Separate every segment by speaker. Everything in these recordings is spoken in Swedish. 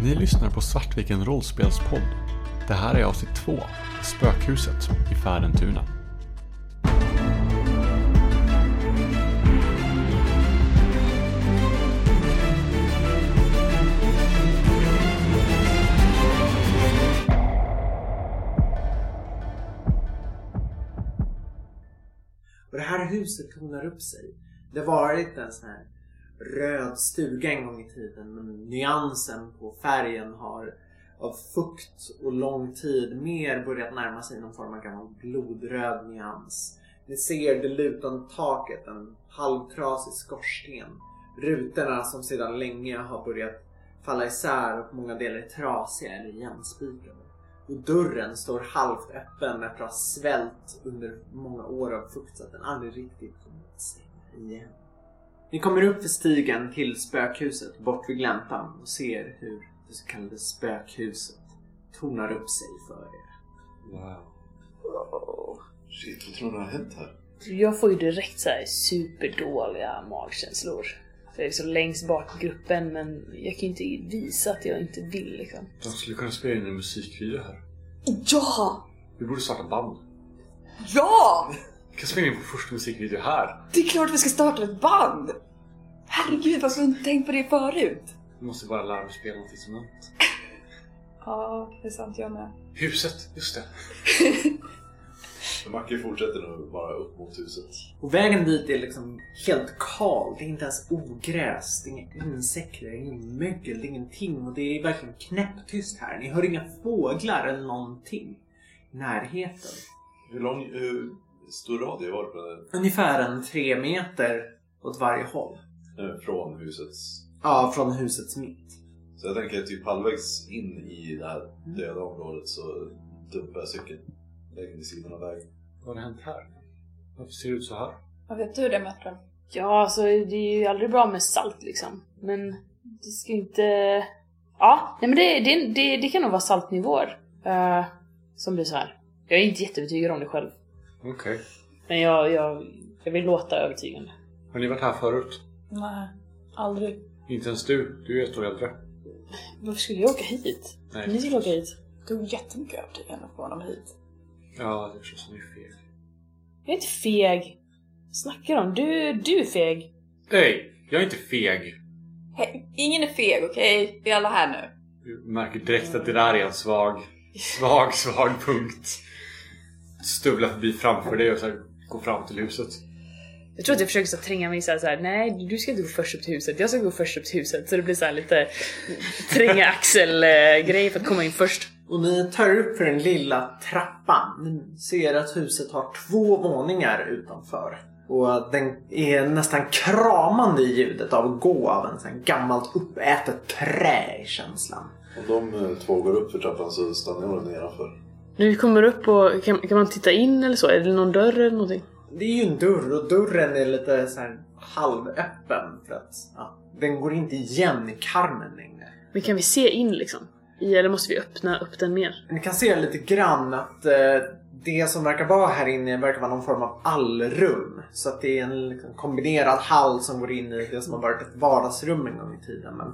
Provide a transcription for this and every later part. Speaker 1: Ni lyssnar på Svartviken rollspelspodd. Det här är avsnitt två, Spökhuset i Färentuna.
Speaker 2: Och det här huset tornar upp sig. Det har varit en sån här röd stuga en gång i tiden men nyansen på färgen har av fukt och lång tid mer börjat närma sig någon form av gammal blodröd nyans. Ni ser det lutande taket, en halvtrasig skorsten. Rutorna som sedan länge har börjat falla isär och många delar är trasiga eller igenspikade. Och dörren står halvt öppen efter att ha svällt under många år av fukt så att den aldrig riktigt kommit sig igen. Ni kommer upp för stigen till spökhuset bort vid gläntan och ser hur det så kallade spökhuset tornar upp sig för er.
Speaker 3: Wow. Shit, vad tror ni har hänt här?
Speaker 4: Jag får ju direkt så här superdåliga magkänslor. För jag är så längst bak i gruppen men jag kan ju inte visa att jag inte vill liksom.
Speaker 3: De skulle kunna spela in en musikvideo här.
Speaker 5: Ja!
Speaker 3: Vi borde starta band.
Speaker 5: Ja!
Speaker 3: Vi kan spela in vår första musikvideo här.
Speaker 5: Det är klart vi ska starta ett band! Herregud, varför har vi inte tänkt på det förut?
Speaker 3: Vi måste bara lära mig spela något instrument.
Speaker 5: Ja, det är sant, jag med.
Speaker 3: Huset, just det.
Speaker 6: Macke fortsätter nu bara upp mot huset.
Speaker 2: Och vägen dit är liksom helt kal. Det är inte ens ogräs, det är inga insekter, det är ingen mögel, det är ingenting. Och det är verkligen knäpptyst här. Ni hör inga fåglar eller någonting i närheten.
Speaker 6: Hur lång, hur stor radie var det på den,
Speaker 2: Ungefär en tre meter åt varje håll.
Speaker 6: eh, från husets?
Speaker 2: Ja, från husets mitt.
Speaker 6: Så jag tänker typ halvvägs in i det här döda området så dumpar jag cykeln. Lägger den i sidan av vägen.
Speaker 3: Vad har hänt här? Varför ser det ut så här?
Speaker 7: Har vi tur det Mörtren?
Speaker 4: Ja, alltså det är ju aldrig bra med salt liksom. Men det ska inte... Ja, nej men det, det, det, det kan nog vara saltnivåer eh, som blir så här. Jag är inte jätteövertygad om det själv.
Speaker 3: Okej.
Speaker 4: Men jag, jag, jag vill låta övertygande.
Speaker 3: Har ni varit här förut?
Speaker 7: Nej, aldrig.
Speaker 3: Inte ens du. Du är ett år äldre.
Speaker 4: Varför skulle jag åka hit?
Speaker 3: Nej.
Speaker 4: Ni skulle åka hit.
Speaker 7: Det tog jättemycket övertygande att få honom hit.
Speaker 3: Ja, det känns som ni är fel.
Speaker 4: Jag är inte feg. Snackar om? Du, du är feg.
Speaker 3: Nej, jag är inte feg.
Speaker 7: Hej, ingen är feg, okej? Vi är alla här nu.
Speaker 3: Du märker direkt att det där är en svag, svag, svag punkt. Stövla förbi framför dig och så här, gå fram till huset.
Speaker 4: Jag tror att jag försöker så här tränga mig så här, så här. nej du ska inte gå först upp till huset, jag ska gå först upp till huset. Så det blir så här lite tränga axel-grej för att komma in först.
Speaker 2: Och ni tar upp för den lilla trappan. Ni ser att huset har två våningar utanför. Och den är nästan kramande i ljudet av att gå av en sån här gammalt uppätet trä i känslan.
Speaker 6: Om de eh, två går upp för trappan så stannar jag nedanför.
Speaker 4: När vi kommer upp och kan, kan man titta in eller så? Är det någon dörr eller någonting?
Speaker 2: Det är ju en dörr och dörren är lite så här halvöppen för att ja, den går inte igen i karmen längre.
Speaker 4: Men kan vi se in liksom? I, eller måste vi öppna upp den mer?
Speaker 2: Ni kan se lite grann att eh, det som verkar vara här inne verkar vara någon form av allrum. Så att det är en liksom, kombinerad hall som går in i det som har varit ett vardagsrum en gång i tiden. Men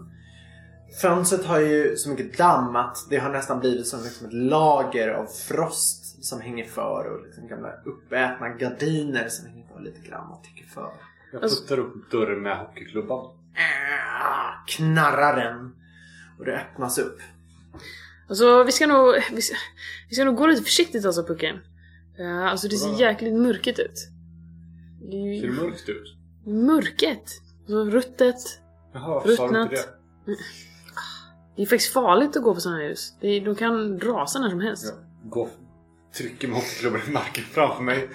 Speaker 2: fönstret har ju så mycket damm att det har nästan blivit som liksom, ett lager av frost som hänger för och liksom, gamla uppätna gardiner som hänger för lite grann och täcker för.
Speaker 3: Jag
Speaker 4: Alltså-
Speaker 3: puttar upp dörren med hockeyklubban.
Speaker 2: Ah, knarrar den och det öppnas upp.
Speaker 4: Alltså vi ska nog, vi ska, vi ska nog gå lite försiktigt alltså pucken. Uh, alltså det ser jäkligt mörket ut. Det är
Speaker 3: Ser det
Speaker 4: ju
Speaker 3: mörkt ut?
Speaker 4: mörket. Alltså ruttet.
Speaker 3: Jaha, varför sa du inte
Speaker 4: Ruttnat.
Speaker 3: det?
Speaker 4: Det är faktiskt farligt att gå på sådana här hus. Det är, de kan rasa när som helst.
Speaker 3: Jag går, trycker med hockeyklubban i marken framför mig.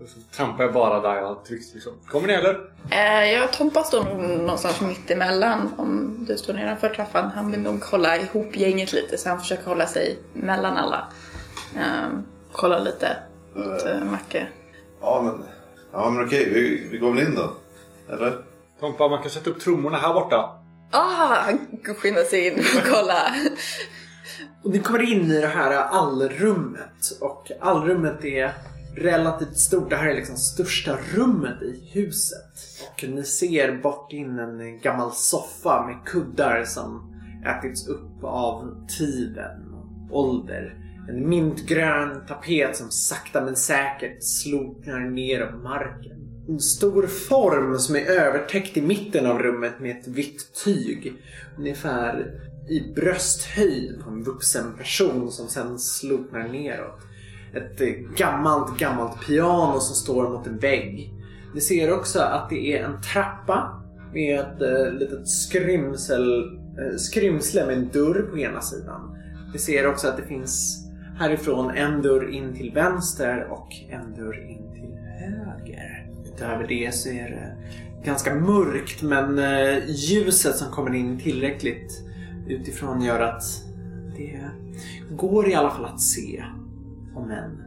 Speaker 3: Och så trampar jag bara där jag har tryckt liksom. Kommer ni eller?
Speaker 7: Eh, jag och Tompa står nog någonstans mitt emellan om du står nedanför trappan. Han vill nog hålla ihop gänget lite så han försöker hålla sig mellan alla. Eh, kolla lite mot eh, Macke.
Speaker 6: Ja men, ja, men okej, vi, vi går väl in då. Eller?
Speaker 3: Tompa, man kan sätta upp trummorna här borta.
Speaker 7: Ah, han skyndar sig in och kolla.
Speaker 2: Och ni kommer in i det här allrummet och allrummet är relativt stort. Det här är liksom största rummet i huset. Och ni ser bort in en gammal soffa med kuddar som ätits upp av tiden och ålder. En mintgrön tapet som sakta men säkert sloknar ner av marken. En stor form som är övertäckt i mitten av rummet med ett vitt tyg. Ungefär i brösthöjd på en vuxen person som sen sloknar neråt. Ett eh, gammalt, gammalt piano som står mot en vägg. Ni ser också att det är en trappa med ett eh, litet skrymsel, eh, skrymsle med en dörr på ena sidan. Ni ser också att det finns härifrån en dörr in till vänster och en dörr in till höger. Utöver det så är det ganska mörkt men eh, ljuset som kommer in tillräckligt utifrån gör att det går i alla fall att se. Om än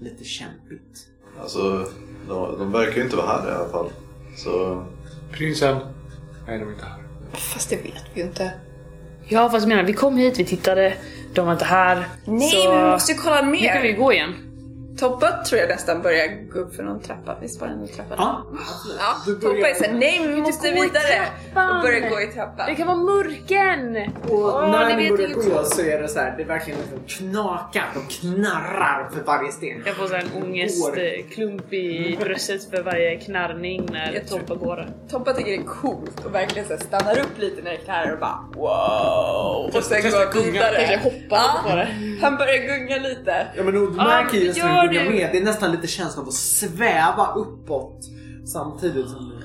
Speaker 2: lite kämpigt.
Speaker 6: Alltså, de, de verkar ju inte vara här i alla fall. Så
Speaker 3: Prinsen. Nej, de är inte här.
Speaker 7: Fast det vet vi ju inte.
Speaker 4: Ja fast jag menar, vi kom hit, vi tittade, de var inte här.
Speaker 7: Nej,
Speaker 4: så...
Speaker 7: men vi måste ju kolla
Speaker 4: Nu kan vi
Speaker 7: mer.
Speaker 4: gå igen.
Speaker 7: Toppa tror jag nästan börjar gå upp för någon trappa. Visst var det någon trappa?
Speaker 2: Ja,
Speaker 7: Ja,
Speaker 2: Du
Speaker 7: Toppa
Speaker 2: börjar-
Speaker 7: är såhär, nej men vi måste
Speaker 4: gå i
Speaker 7: vidare.
Speaker 4: trappan.
Speaker 7: Och börjar gå i trappan.
Speaker 4: Det kan vara mörken!
Speaker 2: Och
Speaker 4: Åh,
Speaker 2: när
Speaker 4: ni
Speaker 2: ni
Speaker 4: vet
Speaker 2: börjar
Speaker 4: ingenting.
Speaker 2: gå så är det så här, det verkligen liksom knakar. De knarrar för varje sten.
Speaker 4: Jag får sån här ångestklump i bröstet för varje knarrning när
Speaker 7: Jag tror-
Speaker 4: Toppa går. Alltså,
Speaker 7: Toppa tycker det är coolt och verkligen så här stannar upp lite när det knarrar och bara wow. Och sen går han vidare. Ja, han börjar gunga lite.
Speaker 2: Ja men Odd
Speaker 4: Ja,
Speaker 2: märker ju
Speaker 4: men
Speaker 2: just
Speaker 4: gör
Speaker 2: när du gungar
Speaker 4: det.
Speaker 2: med. Det är nästan lite känslan av att sväva uppåt samtidigt som du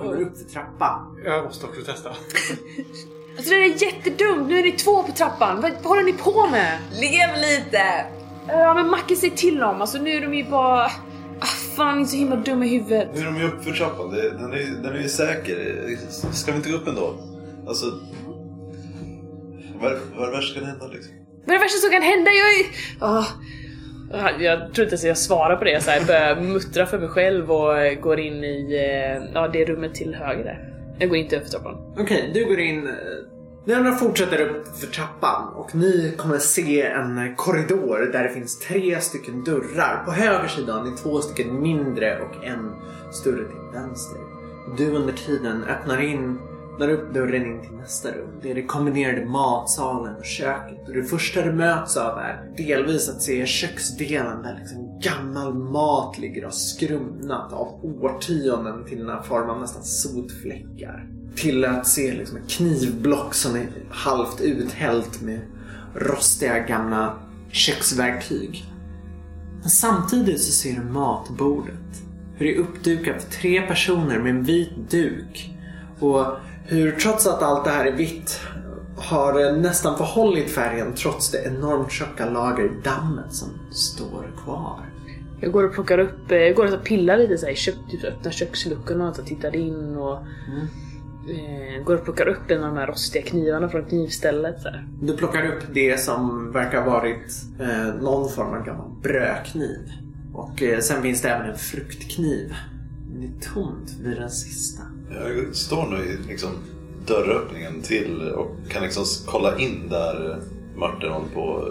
Speaker 2: kommer upp för trappan.
Speaker 3: Jag måste också testa.
Speaker 4: Alltså det är jättedumt, nu är ni två på trappan. Vad, vad håller ni på med?
Speaker 7: Lev lite!
Speaker 4: Ja men Macke säg till dem, alltså nu är de ju bara... Ah, fan, ni är så himla dumma i huvudet.
Speaker 6: nu är de ju uppför trappan. Det- Den är, ju- den är ju säker. Ska vi inte gå upp ändå? Alltså, vad vad är det värsta som kan hända liksom?
Speaker 4: Vad är det värsta som kan hända? Jag är... Ah. Ah, Jag tror inte ens jag svarar på det. Så här, jag börjar muttra för mig själv och eh, går in i eh, ja, det rummet till höger där. Jag går inte upp för trappan.
Speaker 2: Okej, du går in. eh, Ni andra fortsätter upp för trappan och ni kommer se en korridor där det finns tre stycken dörrar. På höger sida har ni två stycken mindre och en större till vänster. Du under tiden öppnar in öppnar upp dörren in till nästa rum. Det är det kombinerade matsalen och köket. Och det första du möts av är delvis att se köksdelen där liksom gammal mat ligger och skrumnat av årtionden till den här form av nästan sotfläckar. Till att se liksom ett knivblock som är halvt uthällt med rostiga gamla köksverktyg. Men samtidigt så ser du matbordet. Hur det är uppdukat för tre personer med en vit duk. Och hur trots att allt det här är vitt har det nästan förhållit färgen trots det enormt tjocka lager dammet som står kvar.
Speaker 4: Jag går och plockar upp, eh, jag går och pillar lite så här, i kök, typ öppnar köksluckorna och tittar in och eh, går och plockar upp en av de här rostiga knivarna från knivstället. Så här.
Speaker 2: Du plockar upp det som verkar ha varit eh, någon form av gammal brödkniv. Och eh, sen finns det även en fruktkniv. Det är tomt vid den sista.
Speaker 6: Jag står nu i liksom, dörröppningen till och kan liksom s- kolla in där Martin håller på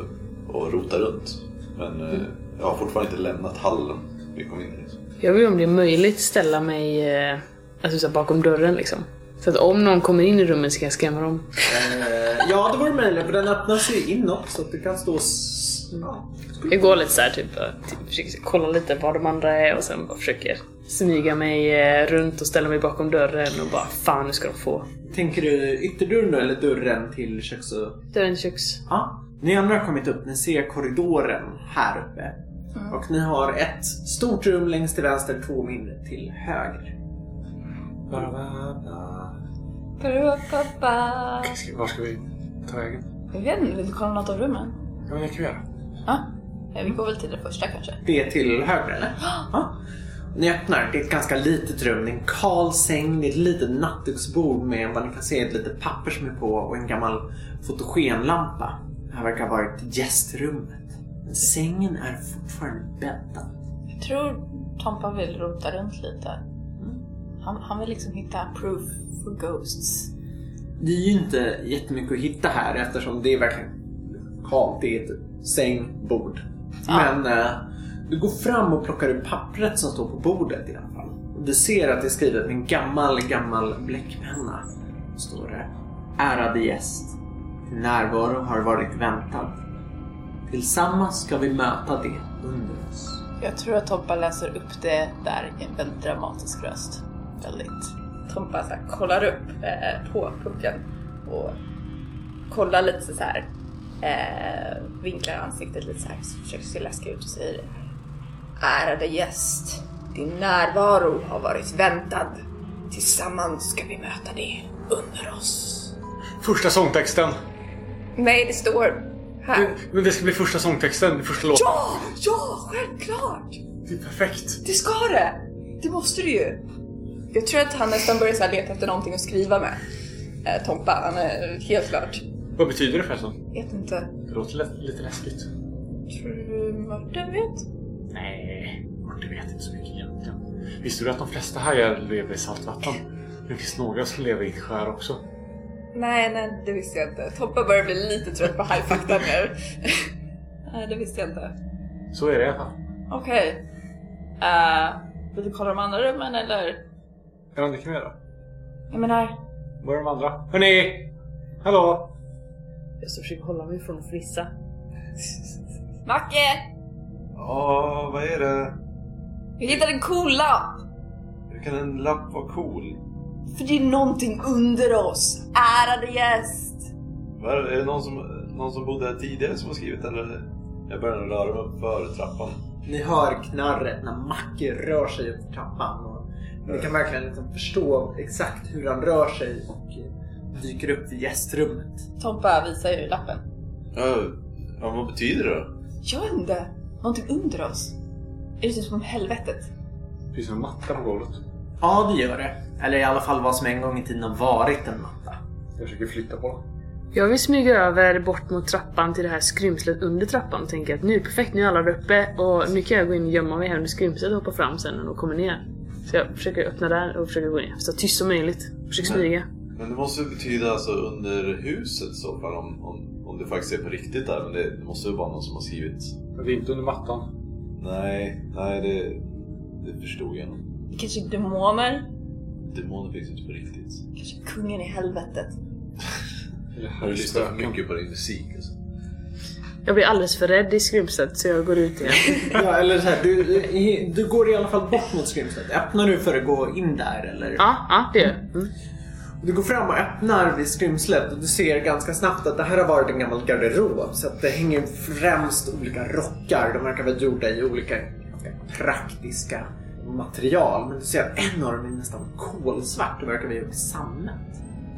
Speaker 6: och rotar runt. Men eh, jag har fortfarande inte lämnat hallen vi kom in i. Liksom.
Speaker 4: Jag vill om det är möjligt ställa mig eh, alltså, så här, bakom dörren liksom. Så att om någon kommer in i rummet så kan jag skrämma dem.
Speaker 2: Eh, ja, det vore möjligt för den öppnas ju inåt så att du kan stå... s- Ja.
Speaker 4: Jag går lite såhär typ, eh, typ försöker kolla lite var de andra är och sen bara försöker smyga mig eh, runt och ställa mig bakom dörren och bara fan nu ska de få.
Speaker 2: Tänker du ytterdörren då, eller dörren till köks och...
Speaker 4: Dörren till köks.
Speaker 2: Ja, ni andra har kommit upp. Ni ser korridoren här uppe. Och ni har ett stort rum längst till vänster, två mindre till höger.
Speaker 7: Pappa.
Speaker 3: Ska- Var ska vi ta vägen?
Speaker 7: Jag vet inte, vill du kolla något av rummen?
Speaker 3: Ja, men det kan vi göra.
Speaker 7: Ja. Vi går väl till det första kanske.
Speaker 2: Det är till höger eller? Ja. Ni öppnar, det är ett ganska litet rum. Det är en kal säng, det är ett litet nattduksbord med vad ni kan se ett litet papper som är på och en gammal fotogenlampa. Det här verkar ha varit gästrummet. Men sängen är fortfarande bäddad.
Speaker 7: Jag tror Tompa vill rota runt lite. Mm. Han, han vill liksom hitta proof for ghosts.
Speaker 2: Det är ju inte jättemycket att hitta här eftersom det är verkligen halt. Det är ett sängbord. Men eh, du går fram och plockar upp pappret som står på bordet i alla fall. Och Du ser att det är skrivet med en gammal, gammal bläckpenna. Står det. Ärade gäst. närvaro har varit väntad. Tillsammans ska vi möta det under oss.
Speaker 8: Jag tror att Tompa läser upp det där i en väldigt dramatisk röst. Väldigt.
Speaker 7: Tompa så här, kollar upp eh, på pucken och kollar lite så här. Eh, vinklar ansiktet lite så här, så försöker se läskig ut och säger Ärade gäst, din närvaro har varit väntad. Tillsammans ska vi möta det under oss.
Speaker 3: Första sångtexten!
Speaker 7: Nej, det står här.
Speaker 3: Men det ska bli första sångtexten, första låten.
Speaker 8: Ja! Ja, självklart!
Speaker 3: Det är perfekt!
Speaker 8: Det ska det! Det måste du ju!
Speaker 7: Jag tror att han nästan börjar så här leta efter någonting att skriva med. Eh, Tompa, han är helt klart.
Speaker 3: Vad betyder det förresten?
Speaker 7: Vet inte.
Speaker 3: Det låter lä- lite läskigt.
Speaker 7: Tror du Martin vet?
Speaker 3: Nej, Martin vet inte så mycket egentligen. Visste du att de flesta hajar lever i saltvatten? Det finns några som lever i skär också.
Speaker 7: Nej, nej, det visste jag inte. Tompa börjar bli lite trött på hajfakta nu. nej, det visste jag inte.
Speaker 3: Så är det i alla fall.
Speaker 8: Okej. Eh, vill du kolla de andra rummen eller?
Speaker 3: Ja, det kan vi göra.
Speaker 8: Jag menar,
Speaker 3: Var är de andra? Hörni! Hallå!
Speaker 4: Jag ska försöka hålla mig från att fnissa.
Speaker 8: Macke!
Speaker 6: Ja, vad är det?
Speaker 8: Jag hittade en cool lapp!
Speaker 6: Hur kan en lapp vara cool?
Speaker 8: För det är någonting under oss, ärade gäst!
Speaker 6: Var, är det någon som, någon som bodde här tidigare som har skrivit den? Eller? Jag börjar röra mig för trappan.
Speaker 2: Ni hör knarret när Macke rör sig upp trappan. Och ni kan verkligen liksom förstå exakt hur han rör sig och eh, dyker upp i gästrummet.
Speaker 8: Tompa visar ju lappen.
Speaker 6: Ja, ja, vad betyder det då?
Speaker 8: Jag vet inte. Någonting under oss. Är det typ som helvetet?
Speaker 3: Det finns en matta på golvet.
Speaker 2: Ja, det gör det. Eller i alla fall vad som en gång i tiden har varit en matta.
Speaker 3: Jag försöker flytta på den.
Speaker 4: Jag vill smyga över bort mot trappan till det här skrymslet under trappan och tänker att nu är perfekt, nu är alla där uppe och nu kan jag gå in och gömma mig här under skrymslet och hoppa fram sen när de kommer ner. Så jag försöker öppna där och försöker gå ner så tyst som möjligt. Försöker smyga.
Speaker 6: Men det måste ju betyda alltså under huset i så fall om, om, om det faktiskt är på riktigt där. Men det, det måste ju vara någon som har skrivit.
Speaker 3: Men det är inte under mattan.
Speaker 6: Nej, nej det, det förstod jag nog.
Speaker 8: Kanske demoner?
Speaker 6: Demoner finns inte på riktigt.
Speaker 8: Kanske kungen i helvetet?
Speaker 3: Eller här
Speaker 6: Har
Speaker 3: är
Speaker 6: du lyssnat för
Speaker 3: spöken.
Speaker 6: mycket på din musik? Alltså?
Speaker 4: Jag blir alldeles för rädd i skrymslet så jag går ut igen.
Speaker 2: Ja, eller så här, du, du- du går i alla fall bort mot skrymslet. Öppnar du för att gå in där eller?
Speaker 4: Ja, ja det gör jag. Mm.
Speaker 2: Du går fram och öppnar vid skrymslet och du ser ganska snabbt att det här har varit en gammal garderob. Så att det hänger främst olika rockar. De verkar vara gjorda i olika ganska praktiska material. Men du ser att en av dem är nästan kolsvart och verkar vara gjord i sammet.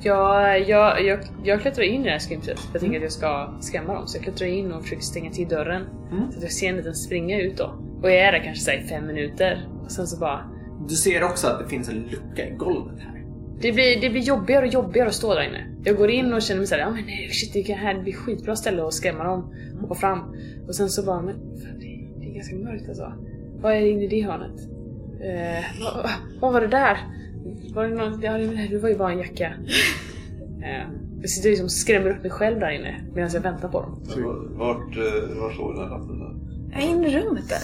Speaker 4: Jag, jag, jag, jag klättrar in i det här skrymslet. Jag tänker att jag ska skrämma dem så jag klättrar in och försöker stänga till dörren.
Speaker 2: Mm.
Speaker 4: Så att jag ser en liten springa ut då. Och jag är där kanske så här i fem minuter. Och sen så bara
Speaker 2: Du ser också att det finns en lucka i golvet här.
Speaker 4: Det blir, det blir jobbigare och jobbigare att stå där inne. Jag går in och känner mig såhär, ja men nej, shit det kan här det blir skitbra ställe att skrämma dem. Hoppa fram. Och sen så bara, men fan, det, det är ganska mörkt alltså. Vad är det inne i det hörnet? Eh, vad, vad var det där? Var det någon, ja, det det var ju bara en jacka. Eh, jag sitter liksom och skrämmer upp mig själv där inne medan jag väntar på dem.
Speaker 6: Men var- Vart, eh, var står den här lappen då?
Speaker 7: Jag är inne i rummet där.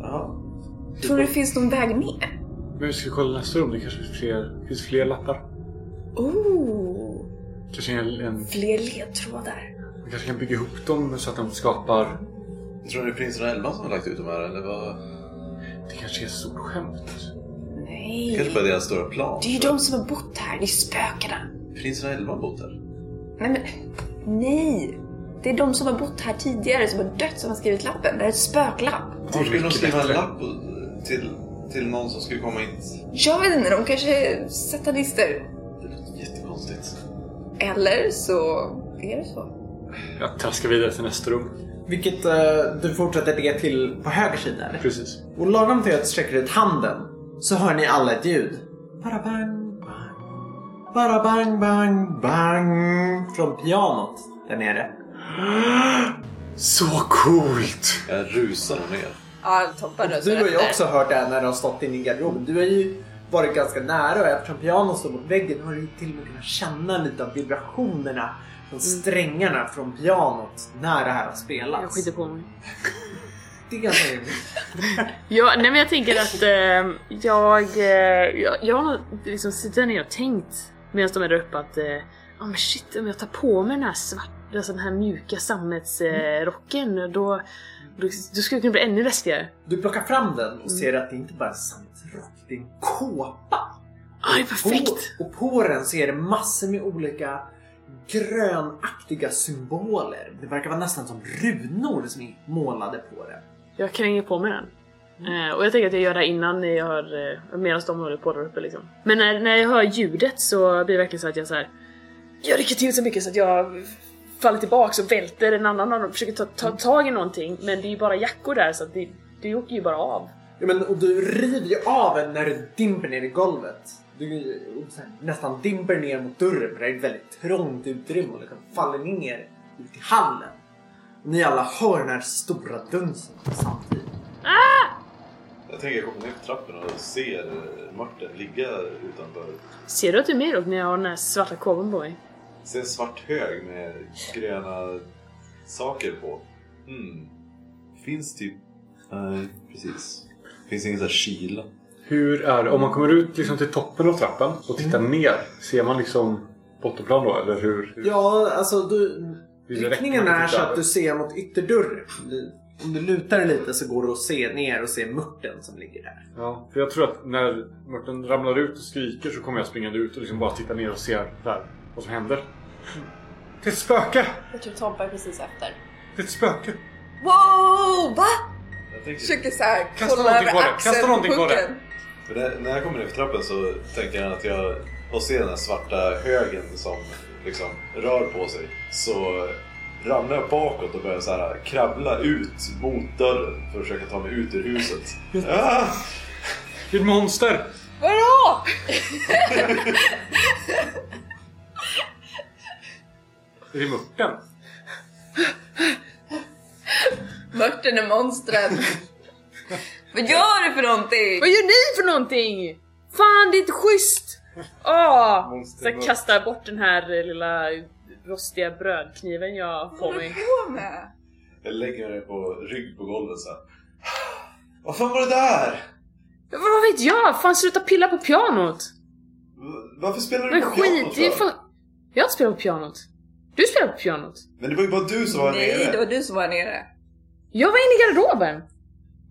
Speaker 6: Jaha.
Speaker 7: Tror du det finns någon väg ner?
Speaker 3: Men vi ska kolla nästa rum. Det kanske finns fler, finns fler lappar.
Speaker 7: Oh,
Speaker 3: Kanske en, en,
Speaker 7: fler ledtrådar.
Speaker 3: vi kanske kan bygga ihop dem så att de skapar...
Speaker 6: Tror ni det är prinsen och elvan som har lagt ut dem här? Eller vad?
Speaker 3: Det kanske är ett stort skämt.
Speaker 6: Det kanske
Speaker 7: Nej.
Speaker 6: bara är deras stora plan.
Speaker 7: Det är ju de som har bott här, det är spökena.
Speaker 6: Prinsen och elvan bott här?
Speaker 7: Nej men, nej! Det är de som har bott här tidigare som har dött som har skrivit lappen. Det här är ett spöklapp.
Speaker 6: Varför skulle de
Speaker 3: mycket
Speaker 6: skriva en
Speaker 3: bättre.
Speaker 6: lapp och- till, till någon som skulle komma hit?
Speaker 7: Jag vet inte, de kanske är satanister.
Speaker 6: Det låter jättekonstigt.
Speaker 7: Eller så är det så.
Speaker 3: Jag traskar vidare till nästa rum.
Speaker 2: Vilket eh, du fortsätter det till på höger sida eller?
Speaker 3: Precis.
Speaker 2: Och lagom till att jag sträcker ut handen så hör ni alla ett ljud. Bara bang, bang. Bara bang, bang, bang. Från pianot där nere.
Speaker 3: Så coolt!
Speaker 6: Jag rusar nog ner.
Speaker 8: Ja, Tompa
Speaker 2: Du
Speaker 8: röstar
Speaker 2: Alltså, har ju
Speaker 8: efter.
Speaker 2: också hört det här när du har stått inne i garderoben. Du har ju varit ganska nära och eftersom pianot står mot väggen har du ju till och med kunnat känna lite av vibrationerna från strängarna från pianot när det här har
Speaker 4: Jag
Speaker 2: spelats.
Speaker 4: skiter på mig.
Speaker 2: Det är ganska rimligt.
Speaker 4: Ja, nej men jag tänker att eh, jag, eh, jag, jag har nog liksom suttit ner och tänkt medan de är där uppe att eh, Ja men shit, om jag tar på mig den här svarta, alltså den här mjuka sammetsrocken, då, då, då skulle jag kunna bli ännu läskigare.
Speaker 2: Du plockar fram den och ser att det inte bara är en sammetsrock, det är en kåpa.
Speaker 4: Ja, det är perfekt!
Speaker 2: På, och på den så är det massor med olika grönaktiga symboler. Det verkar vara nästan som runor som är målade på den.
Speaker 4: Jag kränger på mig den. Eh, och jag tänker att jag gör det här innan jag har, eh, medan de håller på där uppe liksom. Men när, när jag hör ljudet så blir det verkligen så att jag så här. Jag rycker till så mycket så att jag faller tillbaks och välter en annan av dem, försöker ta, ta tag i någonting. Men det är ju bara jackor där så att det, det åker ju bara av.
Speaker 2: Ja, men, och du river ju av den när du dimper ner i golvet. Du och så här, nästan dimper ner mot dörren för det är ett väldigt trångt utrymme och liksom faller ner ut i hallen. Och ni alla hör den här stora dunsen samtidigt.
Speaker 6: Jag tänker komma ner för trappen och ser Martin ligga utanför.
Speaker 4: Ser du att du är med Ulf, när jag har den här svarta kåpan på mig?
Speaker 6: Ser en svart hög med gröna saker på. Hmm. Finns typ... Nej, precis. Finns ingen sån här kyla.
Speaker 3: Hur är det? Om man kommer ut liksom till toppen av trappen och tittar ner. Ser man liksom bottenplan då eller hur? hur-
Speaker 2: Ja, alltså du...
Speaker 3: Det är direkt
Speaker 2: Riktningen
Speaker 3: man
Speaker 2: är
Speaker 3: tittar
Speaker 2: så att
Speaker 3: över.
Speaker 2: du ser mot ytterdörren. Du- Om du lutar dig lite så går du att se ner och se mörten som ligger där.
Speaker 3: Ja, för jag tror att när Mörten ramlar ut och skriker så kommer jag springande ut och liksom bara titta ner och ser där vad som händer. Det är ett spöke!
Speaker 8: Jag tror Tompa är precis efter.
Speaker 3: Det är ett spöke!
Speaker 5: Wow! Va?
Speaker 6: Jag tänker,
Speaker 5: Försöker såhär
Speaker 3: Kasta
Speaker 5: kolla
Speaker 3: någonting
Speaker 5: över
Speaker 3: på det,
Speaker 5: axeln
Speaker 3: kasta någonting på det.
Speaker 5: pucken.
Speaker 6: för när, när jag kommer ner för trappen så tänker jag att jag... Och ser den här svarta högen som liksom rör på sig. Så ramlar jag bakåt och börjar så här krabbla ut mot dörren för att försöka ta mig ut ur huset. ah!
Speaker 3: Det är ett monster!
Speaker 5: Vadå?
Speaker 3: Är det Mörten?
Speaker 7: Mörten är monstren.
Speaker 5: Vad gör du för någonting?
Speaker 4: Vad gör ni för någonting? Fan, det är inte schysst! Åh! Så jag kastar bort den här eh, lilla rostiga brödkniven jag har på mig.
Speaker 5: på med?
Speaker 6: Jag lägger mig på rygg på golvet så här. Vad fan var det där?
Speaker 4: Men Vad vet jag? Fan sluta pilla på pianot!
Speaker 6: V- Varför spelar du
Speaker 4: Men
Speaker 6: på
Speaker 4: skit
Speaker 6: pianot
Speaker 4: i
Speaker 6: då?
Speaker 4: fan... Jag har inte spelat på pianot. Du spelar på pianot.
Speaker 6: Men det var ju bara du som var
Speaker 5: Nej,
Speaker 6: nere.
Speaker 5: det var du som var nere.
Speaker 4: Jag var inne i garderoben.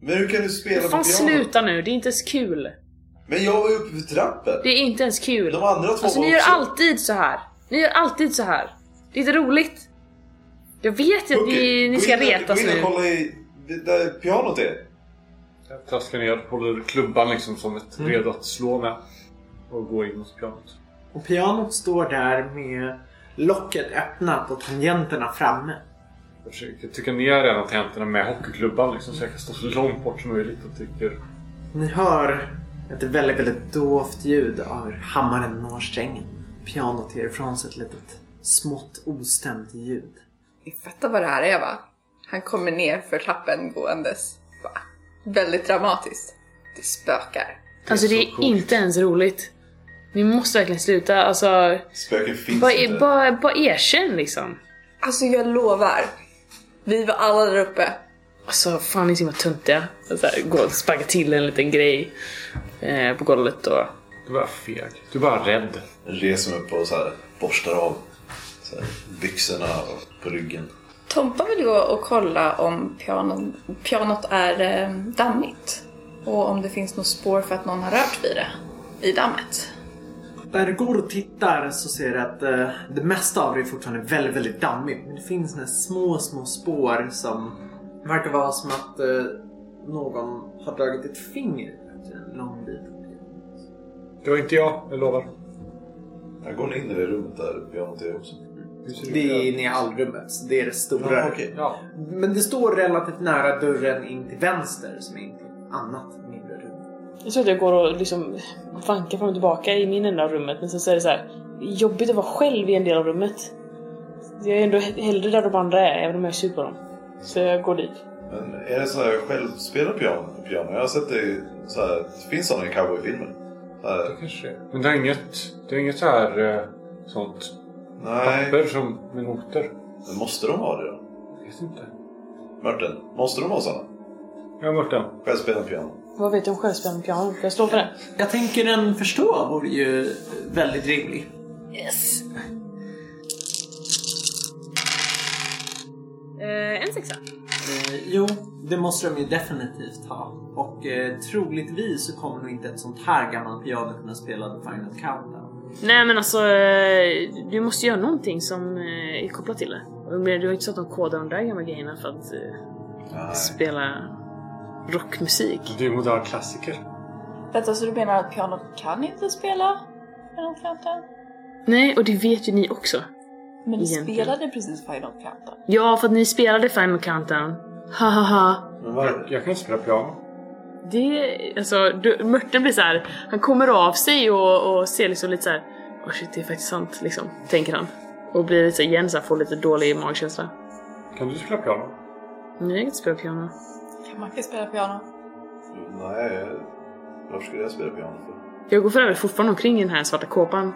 Speaker 6: Men hur kan du spela på
Speaker 4: Fan
Speaker 6: pianot?
Speaker 4: sluta nu, det är inte ens kul.
Speaker 6: Men jag var ju uppe för trappen.
Speaker 4: Det är inte ens kul.
Speaker 6: De andra två
Speaker 4: Alltså
Speaker 6: var
Speaker 4: ni gör
Speaker 6: också...
Speaker 4: alltid så här. Ni gör alltid så här. Det är inte roligt. Jag vet ju att
Speaker 6: Okej,
Speaker 4: ni,
Speaker 6: gå
Speaker 4: ni ska
Speaker 6: in och-
Speaker 4: retas
Speaker 6: Gå
Speaker 4: nu.
Speaker 6: in och kolla i... det- Där pianot är.
Speaker 3: Jag traskar ner, håller klubban liksom som ett redo att slå med. Och går in mot pianot.
Speaker 2: Och pianot står där med locket öppnat och tangenterna framme.
Speaker 3: Jag försöker trycka ner en av tangenterna med hockeyklubban liksom så jag kan stå så långt bort som möjligt och trycker.
Speaker 2: Ni hör ett väldigt, väldigt dovt ljud av hur hammaren når strängen. Pianot ger ifrån sig ett litet smått ostämt ljud.
Speaker 7: Ni fattar vad det här är va? Han kommer ner för trappen gåendes. Va? Väldigt dramatiskt. Det spökar.
Speaker 4: Alltså det är inte ens roligt. Ni måste verkligen sluta. Alltså,
Speaker 6: Spöken finns
Speaker 4: bara,
Speaker 6: inte.
Speaker 4: bara, bara erkänn liksom.
Speaker 7: Alltså jag lovar. Vi var alla där uppe.
Speaker 4: Alltså fan ni är så himla töntiga. Så här, Gå och sparka till en liten grej eh, på golvet och...
Speaker 3: Du är bara feg. Du är bara rädd.
Speaker 6: Jag reser mig upp och så här, borstar av så här, byxorna och på ryggen.
Speaker 7: Tompa vill gå och kolla om pianot, pianot är eh, dammigt. Och om det finns något spår för att någon har rört vid det. I dammet.
Speaker 2: Där du går och tittar så ser du att eh, det mesta av det är fortfarande väldigt, väldigt dammigt. Men det finns några små, små spår som verkar vara som att eh, någon har dragit ett finger efter en lång bit.
Speaker 3: Det var inte jag, jag lovar.
Speaker 6: Jag går in i det rummet där pianot är också.
Speaker 2: Det är inne i allrummet, så det är det stora.
Speaker 6: Ja, okej.
Speaker 3: Ja.
Speaker 2: Men det står relativt nära dörren in till vänster som är in till ett annat mindre rum.
Speaker 4: Jag tror att jag går och liksom vankar fram och tillbaka i min enda av rummet men sen så är det så här jobbigt att vara själv i en del av rummet. Jag är ändå he- hellre där de andra är, även om jag är sur på dem. Så jag går dit.
Speaker 6: Men är det så här självspelat piano? piano? Jag har sett det, så här, det finns sådana i cowboyfilmer. Så här,
Speaker 3: Kanske. Men det är inget, det är inget så här eh, sånt
Speaker 6: nej,
Speaker 3: papper som med noter.
Speaker 6: men måste de ha det då?
Speaker 3: Jag vet inte.
Speaker 6: Martin, måste de ha sådana?
Speaker 3: Jag har den.
Speaker 6: Självspelande piano?
Speaker 4: Vad vet du om självspelande piano? Får jag slå för det?
Speaker 6: eh,
Speaker 2: Jag tänker en förstå vore ju väldigt rimlig.
Speaker 4: Yes!
Speaker 8: en sexa?
Speaker 2: Eh, jo, det måste de ju definitivt ha. Och eh, troligtvis så kommer nog inte ett sånt här gammalt piano kunna spela The Final Countdown.
Speaker 4: Nej men alltså, eh, du måste göra någonting som eh, är kopplat till det. Jag menar, Det var inte så att de kodade de där gamla grejerna för att eh,
Speaker 6: Nej.
Speaker 4: spela rockmusik.
Speaker 3: Det är ju modern klassiker.
Speaker 7: Vänta, så du menar att pianot kan inte spela Final Countdown?
Speaker 4: Nej, och det vet ju ni också.
Speaker 7: Men du
Speaker 4: Egentligen.
Speaker 7: spelade precis Final Countdown.
Speaker 4: Ja, för att ni spelade Final Countdown. Ha ha ha.
Speaker 3: Men var, jag kan inte spela piano.
Speaker 4: Det, alltså, du, Mörten blir så här. han kommer av sig och, och ser liksom lite så här. Åh shit, det är faktiskt sant, liksom, tänker han. Och blir lite så här igen så här, får lite dålig magkänsla.
Speaker 3: Kan du spela piano?
Speaker 4: Nej, jag kan inte spela piano.
Speaker 7: Kan man inte spela piano?
Speaker 6: Nej, varför skulle jag spela piano för?
Speaker 4: Jag går för övrigt fortfarande omkring i den här svarta kåpan.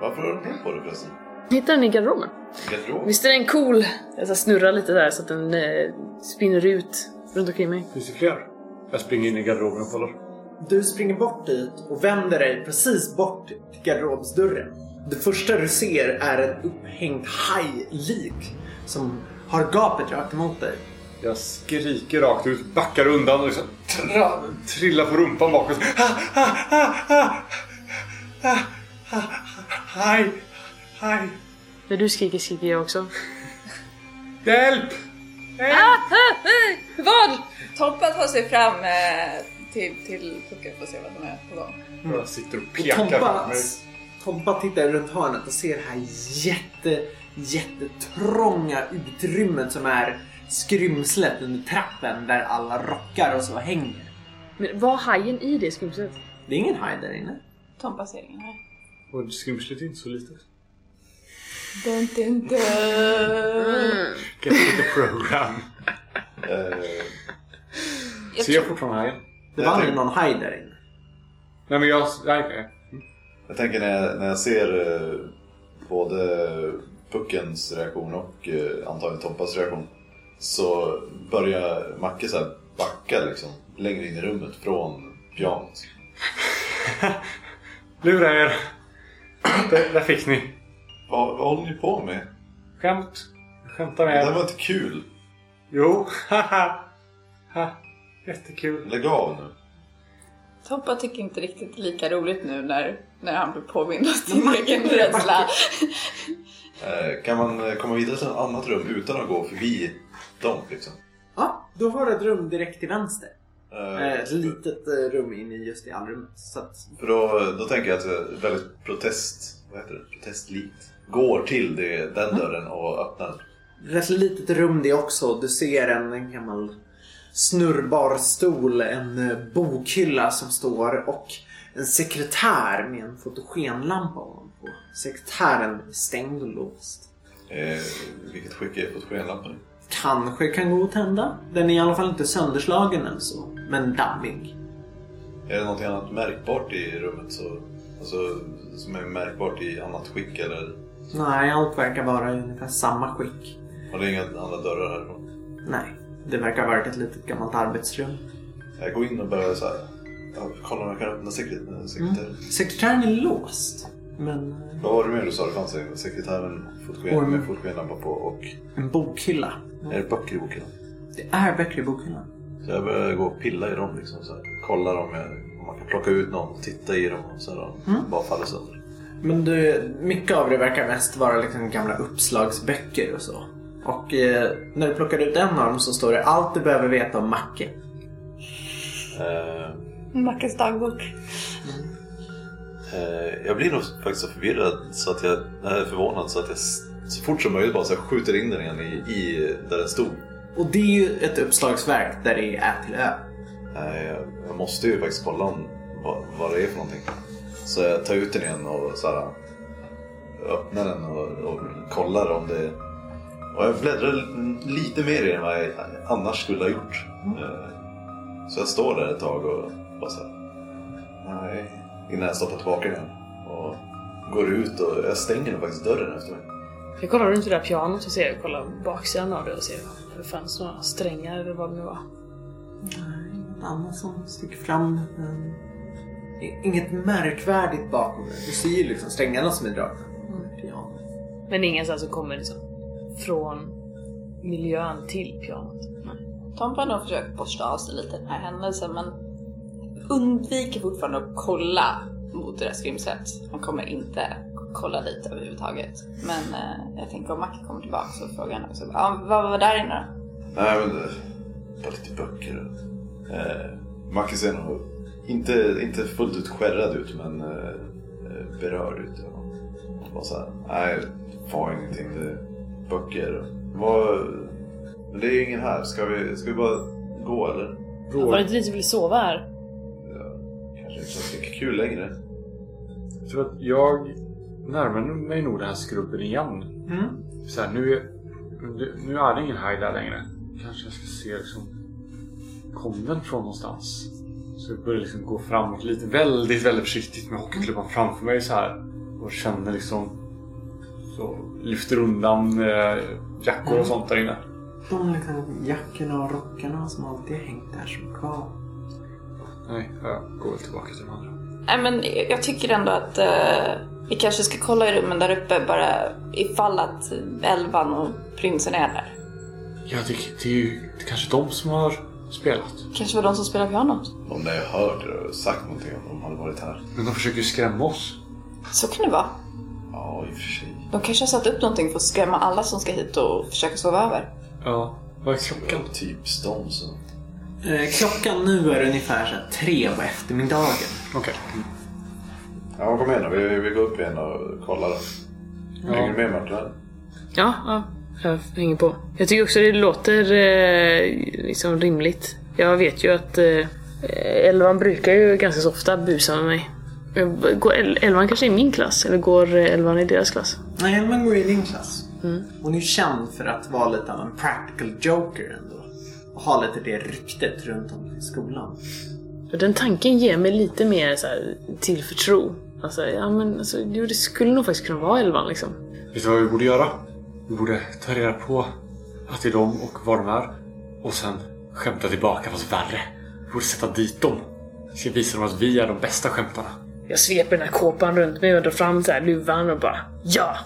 Speaker 6: Varför har du med på det förresten?
Speaker 4: Hittar den i garderoben.
Speaker 6: Garderob?
Speaker 4: Visst är den cool? Jag så här snurrar lite där så att den eh, spinner ut runt omkring mig.
Speaker 3: Finns det fler? Jag springer in i garderoben och kollar.
Speaker 2: Du springer bort dit och vänder dig precis bort till garderobsdörren. Det första du ser är en upphängd hajlik som har gapet rakt emot dig.
Speaker 3: Jag skriker rakt ut, backar undan och liksom tra, trillar på rumpan bakåt. Ha, ha, ha, ha, ha, ha, Hej! Hej!
Speaker 4: När du skriker skriker jag också.
Speaker 3: Hjälp!
Speaker 7: Vad? Toppa tar sig fram eh, till, till pucken för att se vad som är på gång.
Speaker 3: Jag sitter och
Speaker 2: Mm. Och
Speaker 3: pekar på
Speaker 2: Tompa,
Speaker 3: mig.
Speaker 2: Tompa tittar runt hörnet och ser det här jätte, jättetrånga utrymmet som är skrymslet under trappen där alla rockar och så hänger.
Speaker 4: Men var hajen i det skumset?
Speaker 2: Det är ingen haj där inne.
Speaker 7: Tompa ser ingen här.
Speaker 3: Och skrymslet är inte så litet.
Speaker 7: Dun, dun, dun.
Speaker 3: Get with the program.
Speaker 6: Eh,
Speaker 3: Ser jag fortfarande hajen?
Speaker 2: Det
Speaker 6: Jag
Speaker 2: var aldrig
Speaker 6: tänk-
Speaker 2: någon haj där inne.
Speaker 3: Nej men jag... Nej, nej.
Speaker 6: Jag tänker när jag, när jag ser eh, både Puckens reaktion och eh, antagligen Tompas reaktion så börjar Macke så här backa liksom längre in i rummet från pianot.
Speaker 3: Lura er. Där, där fick ni.
Speaker 6: Vad, vad håller ni på med?
Speaker 3: Skämt. Jag skämtar
Speaker 6: Det
Speaker 3: med
Speaker 6: där
Speaker 3: er.
Speaker 6: var inte kul.
Speaker 3: Jo. Haha. Ha. Jättekul.
Speaker 6: Lägg av nu.
Speaker 7: Toppa tycker inte riktigt lika roligt nu när, när han blir påmind om sin egen rädsla.
Speaker 6: Eh, Kan man eh, komma vidare till ett annat rum utan att gå förbi dem liksom?
Speaker 2: Ja, du har ett rum direkt till vänster.
Speaker 6: Eh,
Speaker 2: Eh, Ett litet eh, rum inne just i allrummet. Så att,
Speaker 6: För då, då tänker jag att jag väldigt protest... Vad heter det? Protestlikt. Går till det, den dörren och öppnar.
Speaker 2: rätt litet rum det också. Du ser en, en gammal snurrbar stol, en eh, bokhylla som står och en sekretär med en fotogenlampa ovanpå. Sekretären är stängd och låst.
Speaker 6: Eh, vilket skick är fotogenlampan?
Speaker 2: Kanske kan gå att tända. Den är i alla fall inte sönderslagen än så, men dammig.
Speaker 6: Är det någonting annat märkbart i rummet? Så, alltså, som är märkbart i annat skick eller?
Speaker 2: Nej, allt verkar vara i ungefär samma skick.
Speaker 6: Har det inga andra dörrar härifrån?
Speaker 2: Nej, det verkar vara ett litet gammalt arbetsrum.
Speaker 6: Jag går in och börjar så här. Ja, kolla om jag kan öppna sekre- sekretären.
Speaker 2: Mm. Sekretären är låst, men eh,
Speaker 6: Vad var det mer du sa? Det fanns en sekretären och fotogen,
Speaker 2: Orm.
Speaker 6: med fotogenlampa på och...
Speaker 2: en bokhylla.
Speaker 6: Är det böcker i boken?
Speaker 2: Det är böcker i bokhyllan.
Speaker 6: Så jag börjar gå och pilla i dem liksom. Så här. Kollar om, jag, om man kan plocka ut någon och titta i dem och så här, om de bara faller sönder.
Speaker 2: Men du, mycket av det verkar mest vara liksom gamla uppslagsböcker och så. Och eh, när du plockar ut en av dem så står det allt du behöver veta om Macke.
Speaker 6: Eh,
Speaker 7: Mackes dagbok.
Speaker 6: eh, jag blir nog faktiskt så förvirrad så att jag, nej, förvånad så att jag s- så fort som möjligt bara så här, skjuter in den igen i, i där den stod.
Speaker 2: Och det är ju ett uppslagsverk där det är Ä till Ö.
Speaker 6: Nej, jag, jag måste ju faktiskt kolla om, vad, vad det är för någonting. Så jag tar ut den igen och så här, öppnar den och, och kollar om det... Och jag bläddrar lite mer i den än vad jag annars skulle ha gjort. Eh, Så jag står där ett tag och bara så här, Nej. Innan jag stoppar tillbaka den igen. Och går ut och jag stänger nog faktiskt dörren efter mig.
Speaker 4: Jag kollar runt det där pianot och ser, kollar baksidan av det och ser om det fanns några strängar eller vad det nu var.
Speaker 2: Något annat som sticker fram. eh, men Inget märkvärdigt bakom det. Du ser ju liksom Mm. strängarna som är dragna. Ja.
Speaker 4: Men ingen så här som kommer liksom från miljön till pianot.
Speaker 8: Tompa har nog försökt borsta av sig lite den här händelsen men undviker fortfarande att kolla mot det där skrymset. Han kommer inte kolla dit överhuvudtaget. Men eh, jag tänker om Mac kommer tillbaka så frågar han också ah, vad var där inne då?
Speaker 6: Nej men... eh, Bara lite böcker. Eh, Macke ser nog inte, inte fullt ut skärrad ut men eh, eh, berörd ut. ja. Bara så här, nej, var ingenting. Det är böcker. Vad... Men det är ju ingen här. Ska vi, ska vi bara gå eller?
Speaker 4: Var det inte vi som ville sova här?
Speaker 6: Kanske inte så mycket kul längre.
Speaker 3: Jag tror att jag närmar mig nog den här skrubben igen.
Speaker 2: Mm.
Speaker 3: Så här, nu, är- nu är det ingen haj där längre. Kanske jag ska se liksom, kom den från någonstans? Så jag börjar liksom gå framåt lite, väldigt, väldigt försiktigt med hockeyklubban framför mig så här. Och känner liksom, så lyfter undan eh, jackor och sånt där inne.
Speaker 2: De liksom jackorna och rockarna som alltid har hängt där som kvar.
Speaker 3: Nej, jag går väl tillbaka till de andra.
Speaker 8: Nej men jag tycker ändå att eh, vi kanske ska kolla i rummen där uppe bara ifall att Elvan och prinsen är där.
Speaker 3: Ja, det, det är ju det är kanske de som har spelat.
Speaker 8: Kanske var de som spelar pianot.
Speaker 6: Om ni har hört eller sagt någonting om de hade varit här.
Speaker 3: Men de försöker ju skrämma oss.
Speaker 8: Så kan det vara.
Speaker 6: Ja, i och för sig.
Speaker 8: De kanske har satt upp någonting för att skrämma alla som ska hit och försöka sova över.
Speaker 3: Ja, vad är klockan?
Speaker 6: Typ Stones.
Speaker 2: Eh, klockan nu är ungefär så här tre på eftermiddagen.
Speaker 3: Okej.
Speaker 6: Ja, kom igen då. Vi, vi går upp igen och kollar. Hänger du med Martin? eller?
Speaker 4: Ja, ja, jag hänger på. Jag tycker också det låter eh, liksom rimligt. Jag vet ju att eh, Elvan brukar ju ganska så ofta busa med mig. Eh, Går El- Elvan kanske i min klass? Eller går eh, Elvan i deras klass?
Speaker 2: Nej, Helman går i din klass. Hon är känd för att vara lite av en practical joker ändå. Och ha lite det ryktet runt om i skolan.
Speaker 4: Och Den tanken ger mig lite mer så här, tillförtro. Alltså, ja men alltså, jo, det skulle nog faktiskt kunna vara Elvan liksom.
Speaker 3: Vet du vad vi borde göra? Vi borde ta reda på att det är de och var de är. Och sen skämta tillbaka fast värre. Vi borde sätta dit dem. Vi ska visa dem att vi är de bästa skämtarna.
Speaker 4: Jag sveper den här kåpan runt mig och drar fram så här luvan och bara ja!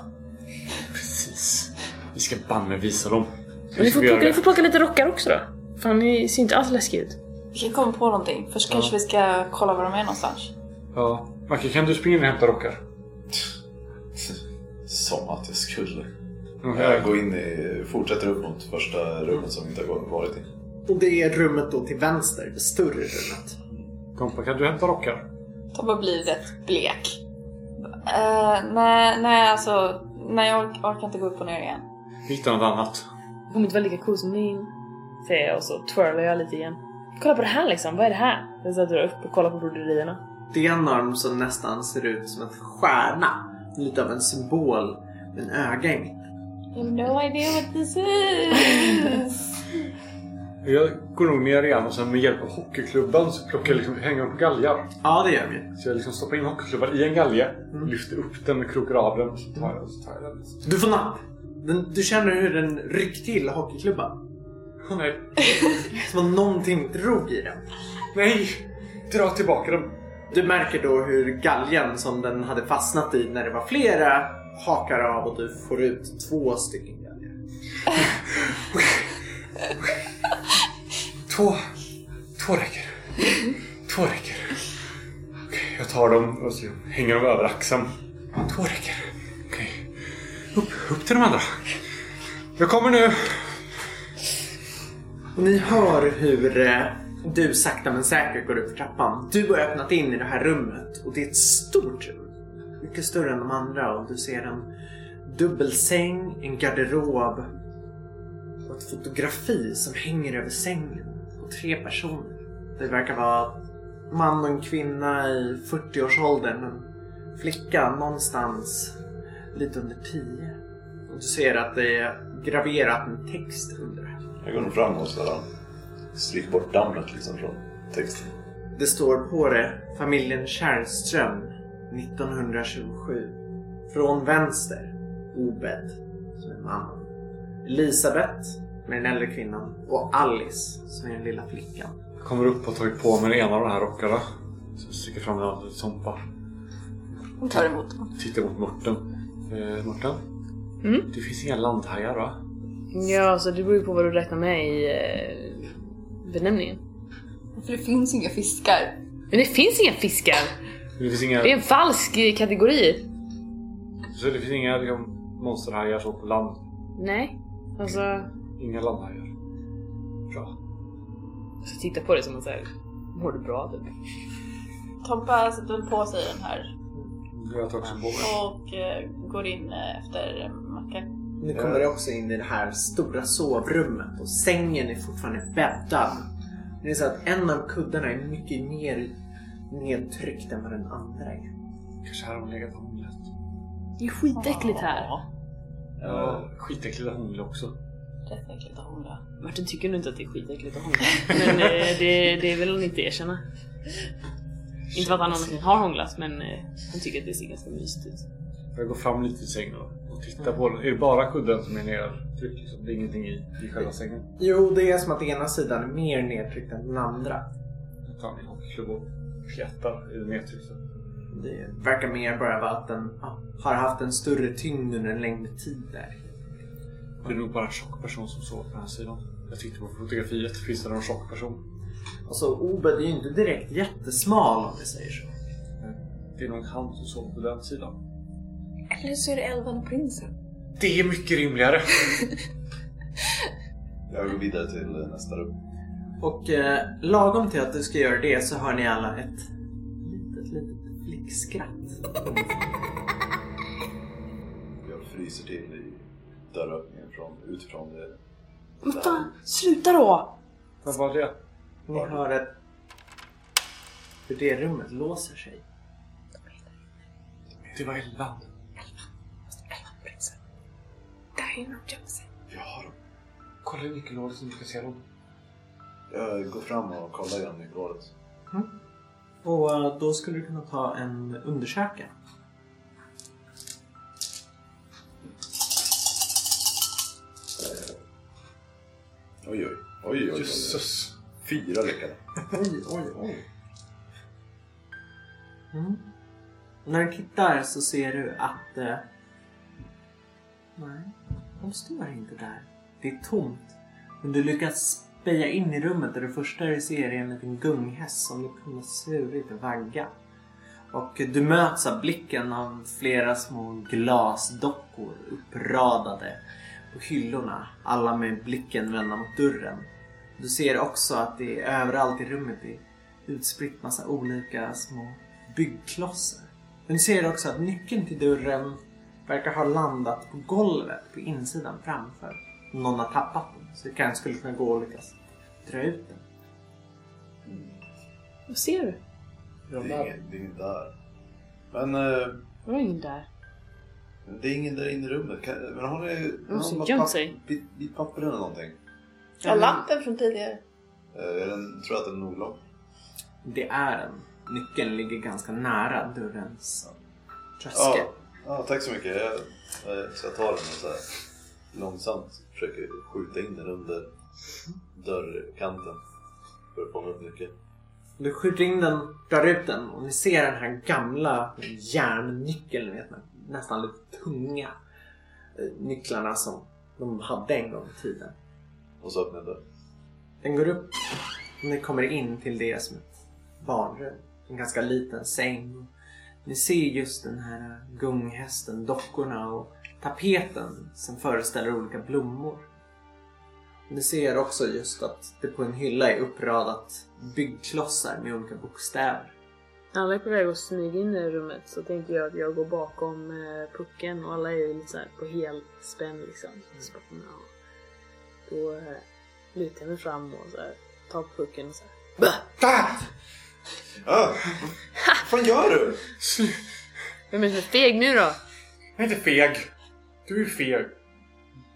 Speaker 3: Precis. Vi ska banne visa dem.
Speaker 4: Men ni får,
Speaker 3: vi
Speaker 4: plocka, ni
Speaker 3: göra
Speaker 4: får
Speaker 3: det?
Speaker 4: plocka lite rockar också då. Fan, ni ser inte alls läskiga ut.
Speaker 8: Vi kan komma på någonting. Först kanske vi ska kolla var de är någonstans.
Speaker 3: Ja. Macke, kan du springa in och hämta rockar?
Speaker 6: Som att jag skulle. Jag
Speaker 3: Mm.
Speaker 6: går in i, fortsätter upp mot första rummet som vi inte har varit i.
Speaker 2: Och det är rummet då till vänster, det större rummet.
Speaker 3: Tompa, kan du hämta rockar?
Speaker 8: Tobbe blir rätt blek. Eh, nej, nej alltså. Nej, jag ork- orkar inte gå upp och ner igen.
Speaker 3: Vi hittar något annat.
Speaker 4: Det kommer inte vara lika cool som min. Säger jag och så twirlar jag lite igen. Kolla på det här liksom, vad är det här? Jag så drar jag upp och kollar på broderierna.
Speaker 2: Det är en arm som nästan ser ut som en stjärna. Lite av en symbol med en öga i mitten.
Speaker 8: You have no idea what this is.
Speaker 3: Jag går nog ner igen och sen med hjälp av hockeyklubban så plockar jag liksom, hänger upp galgar.
Speaker 2: Ja, det gör vi.
Speaker 3: Så jag liksom stoppar in hockeyklubban i en galge,
Speaker 4: Mm.
Speaker 3: lyfter upp den och krokar av den. Så tar jag, så tar jag den.
Speaker 2: Du får napp. Den, du känner hur den ryck till hockeyklubban.
Speaker 3: Åh, nej.
Speaker 2: Som om någonting drog i den.
Speaker 3: Nej! Dra tillbaka dem.
Speaker 2: Du märker då hur galgen som den hade fastnat i när det var flera hakar av och du får ut två stycken galgar.
Speaker 3: Två. Två räcker. Två räcker. Okej, jag tar dem och så hänger dem över axeln. Två räcker. Okej. Upp, upp till de andra. Jag kommer nu.
Speaker 2: Och ni hör hur eh, du sakta men säkert går upp för trappan. Du har öppnat in i det här rummet och det är ett stort rum. Mycket större än de andra och du ser en dubbelsäng, en garderob och ett fotografi som hänger över sängen på tre personer. Det verkar vara en man och en kvinna i 40-årsåldern. En flicka någonstans lite under 10. Och du ser att det är graverat en text under det här.
Speaker 6: Jag går nog fram och sådär. Stryk bort dammet liksom från texten.
Speaker 2: Det står på det familjen Kärrström 1927. Från vänster Obed, som är mamman. Elisabeth, med den äldre kvinnan. Och Alice, som är den lilla flickan.
Speaker 3: Jag kommer upp och tar på mig den ena av de här rockarna. Så sticker fram den andra till Tompa.
Speaker 8: Hon tar emot dem.
Speaker 3: Tittar mot Morten. Eh, Morten?
Speaker 4: Mm?
Speaker 3: Det finns inga landhajar va?
Speaker 4: Ja, så det beror ju på vad du räknar med i eh, benämningen.
Speaker 8: För det finns inga fiskar.
Speaker 4: Men det finns inga fiskar!
Speaker 3: Det finns inga,
Speaker 4: Det är en falsk eh, kategori.
Speaker 3: så det finns inga liksom, monsterhajar så på land.
Speaker 4: Nej. Alltså,
Speaker 3: Inga landhajar. Bra.
Speaker 4: jag ska titta på det som att säga mår du bra typ?
Speaker 8: Tompa sätter väl på sig den här
Speaker 3: Jag tar också på mig.
Speaker 8: och eh, går in eh, efter Macke.
Speaker 2: Nu kommer det också in i det här stora sovrummet och sängen är fortfarande bäddad. Det är så att en av kuddarna är mycket mer nedtryckt än vad den andra är.
Speaker 3: Kanske här har hon legat hånglet.
Speaker 4: Det är skitäckligt här.
Speaker 3: Ja. Skitäckliga hångel också.
Speaker 8: Rätt äckligt av hon då.
Speaker 4: Martin tycker nog inte att det är skitäckligt att hångla. Men eh, det, det vill han inte erkänna. Inte för att han någonsin har hånglat men eh, han tycker att det ser ganska mysigt ut.
Speaker 3: Jag går fram lite i sängen och, och tittar på den. Är det bara kudden som är nedtryckt? Liksom? Det är ingenting i, i själva sängen?
Speaker 2: Jo, det är som att ena sidan är mer nedtryckt än den andra.
Speaker 3: Jag tar min hockeyklubba och klättar i det nedtryckta.
Speaker 2: Det verkar mer bara vara att den ja, har haft en större tyngd under en längre tid där.
Speaker 3: Det är nog bara en tjock person som sover på den här sidan. Jag tittar på fotografiet. Finns det någon tjock person?
Speaker 2: Alltså, Obed är ju inte direkt jättesmal om vi säger så.
Speaker 3: Det är nog han som sover på den sidan.
Speaker 5: Eller så är det elvan och prinsen.
Speaker 3: Det är mycket rimligare.
Speaker 6: Jag går vidare till nästa rum.
Speaker 2: Och eh, lagom till att du ska göra det så hör ni alla ett litet, litet flickskratt.
Speaker 6: Jag fryser till i dörröppningen från, utifrån det.
Speaker 4: Men fan, sluta då!
Speaker 3: Vad var det?
Speaker 2: Ni hör ett... Hur det rummet låser sig.
Speaker 3: Det var elvan.
Speaker 5: Där är någon gömmer sig.
Speaker 6: Jag har dem.
Speaker 3: Kolla i nyckelhålet så du kan se dem.
Speaker 6: Jag går fram och kollar igen i gårdet.
Speaker 2: Och eh, då skulle du kunna ta en undersöka.
Speaker 6: Oj, oj. Oj, oj, oj. Fyra lyckade.
Speaker 2: Oj, oj, oj. Mm. När du tittar så ser du att... Eh, nej, de står inte där. Det är tomt. Men du lyckas speja in i rummet och det första du ser är en liten gunghäst som du kunde ha svurit vagga. Och du möts av blicken av flera små glasdockor uppradade på hyllorna. Alla med blicken vända mot dörren. Du ser också att det är överallt i rummet det är utspritt massa olika små byggklossar. Men du ser också att nyckeln till dörren verkar ha landat på golvet på insidan framför. Någon har tappat den så du kanske skulle kunna gå och lyckas dra ut den.
Speaker 4: Vad ser du?
Speaker 6: Det är ingen, det är ingen där. Men eh,
Speaker 4: Det var ingen där.
Speaker 6: det är ingen där inne i rummet. Kan, men har ni...
Speaker 4: har
Speaker 6: någon
Speaker 4: gömt
Speaker 6: har papp-
Speaker 4: sig.
Speaker 6: Bit, bit papper eller någonting?
Speaker 7: Ja, lampen från tidigare.
Speaker 6: Eh, är den, tror jag att den är olag.
Speaker 2: Det är en. Nyckeln ligger ganska nära dörrens tröskel.
Speaker 6: Ja, ja, tack så mycket. Jag, eh, så jag tar den och så här långsamt försöker skjuta in den under dörrkanten. För att fånga upp nyckeln.
Speaker 2: Du skjuter in den, drar ut den och ni ser den här gamla järnnyckeln, ni vet, med nästan lite tunga eh, nycklarna som de hade en gång i tiden.
Speaker 6: Och så öppnar jag dörren.
Speaker 2: Den går upp och ni kommer in till det som ett barnrum. En ganska liten säng. Ni ser just den här gunghästen, dockorna och tapeten som föreställer olika blommor. Ni ser också just att det på en hylla är uppradat byggklossar med olika bokstäver.
Speaker 4: Alla är på väg att smyga in i rummet så tänker jag att jag går bakom eh, pucken och alla är ju lite såhär på helspänn liksom. Så bara, ja. Då eh, lutar jag mig fram och så här, tar pucken och så här.
Speaker 6: Ah, vad fan gör du?
Speaker 4: Vem är det som är feg nu då?
Speaker 3: Jag är inte feg. Du är feg.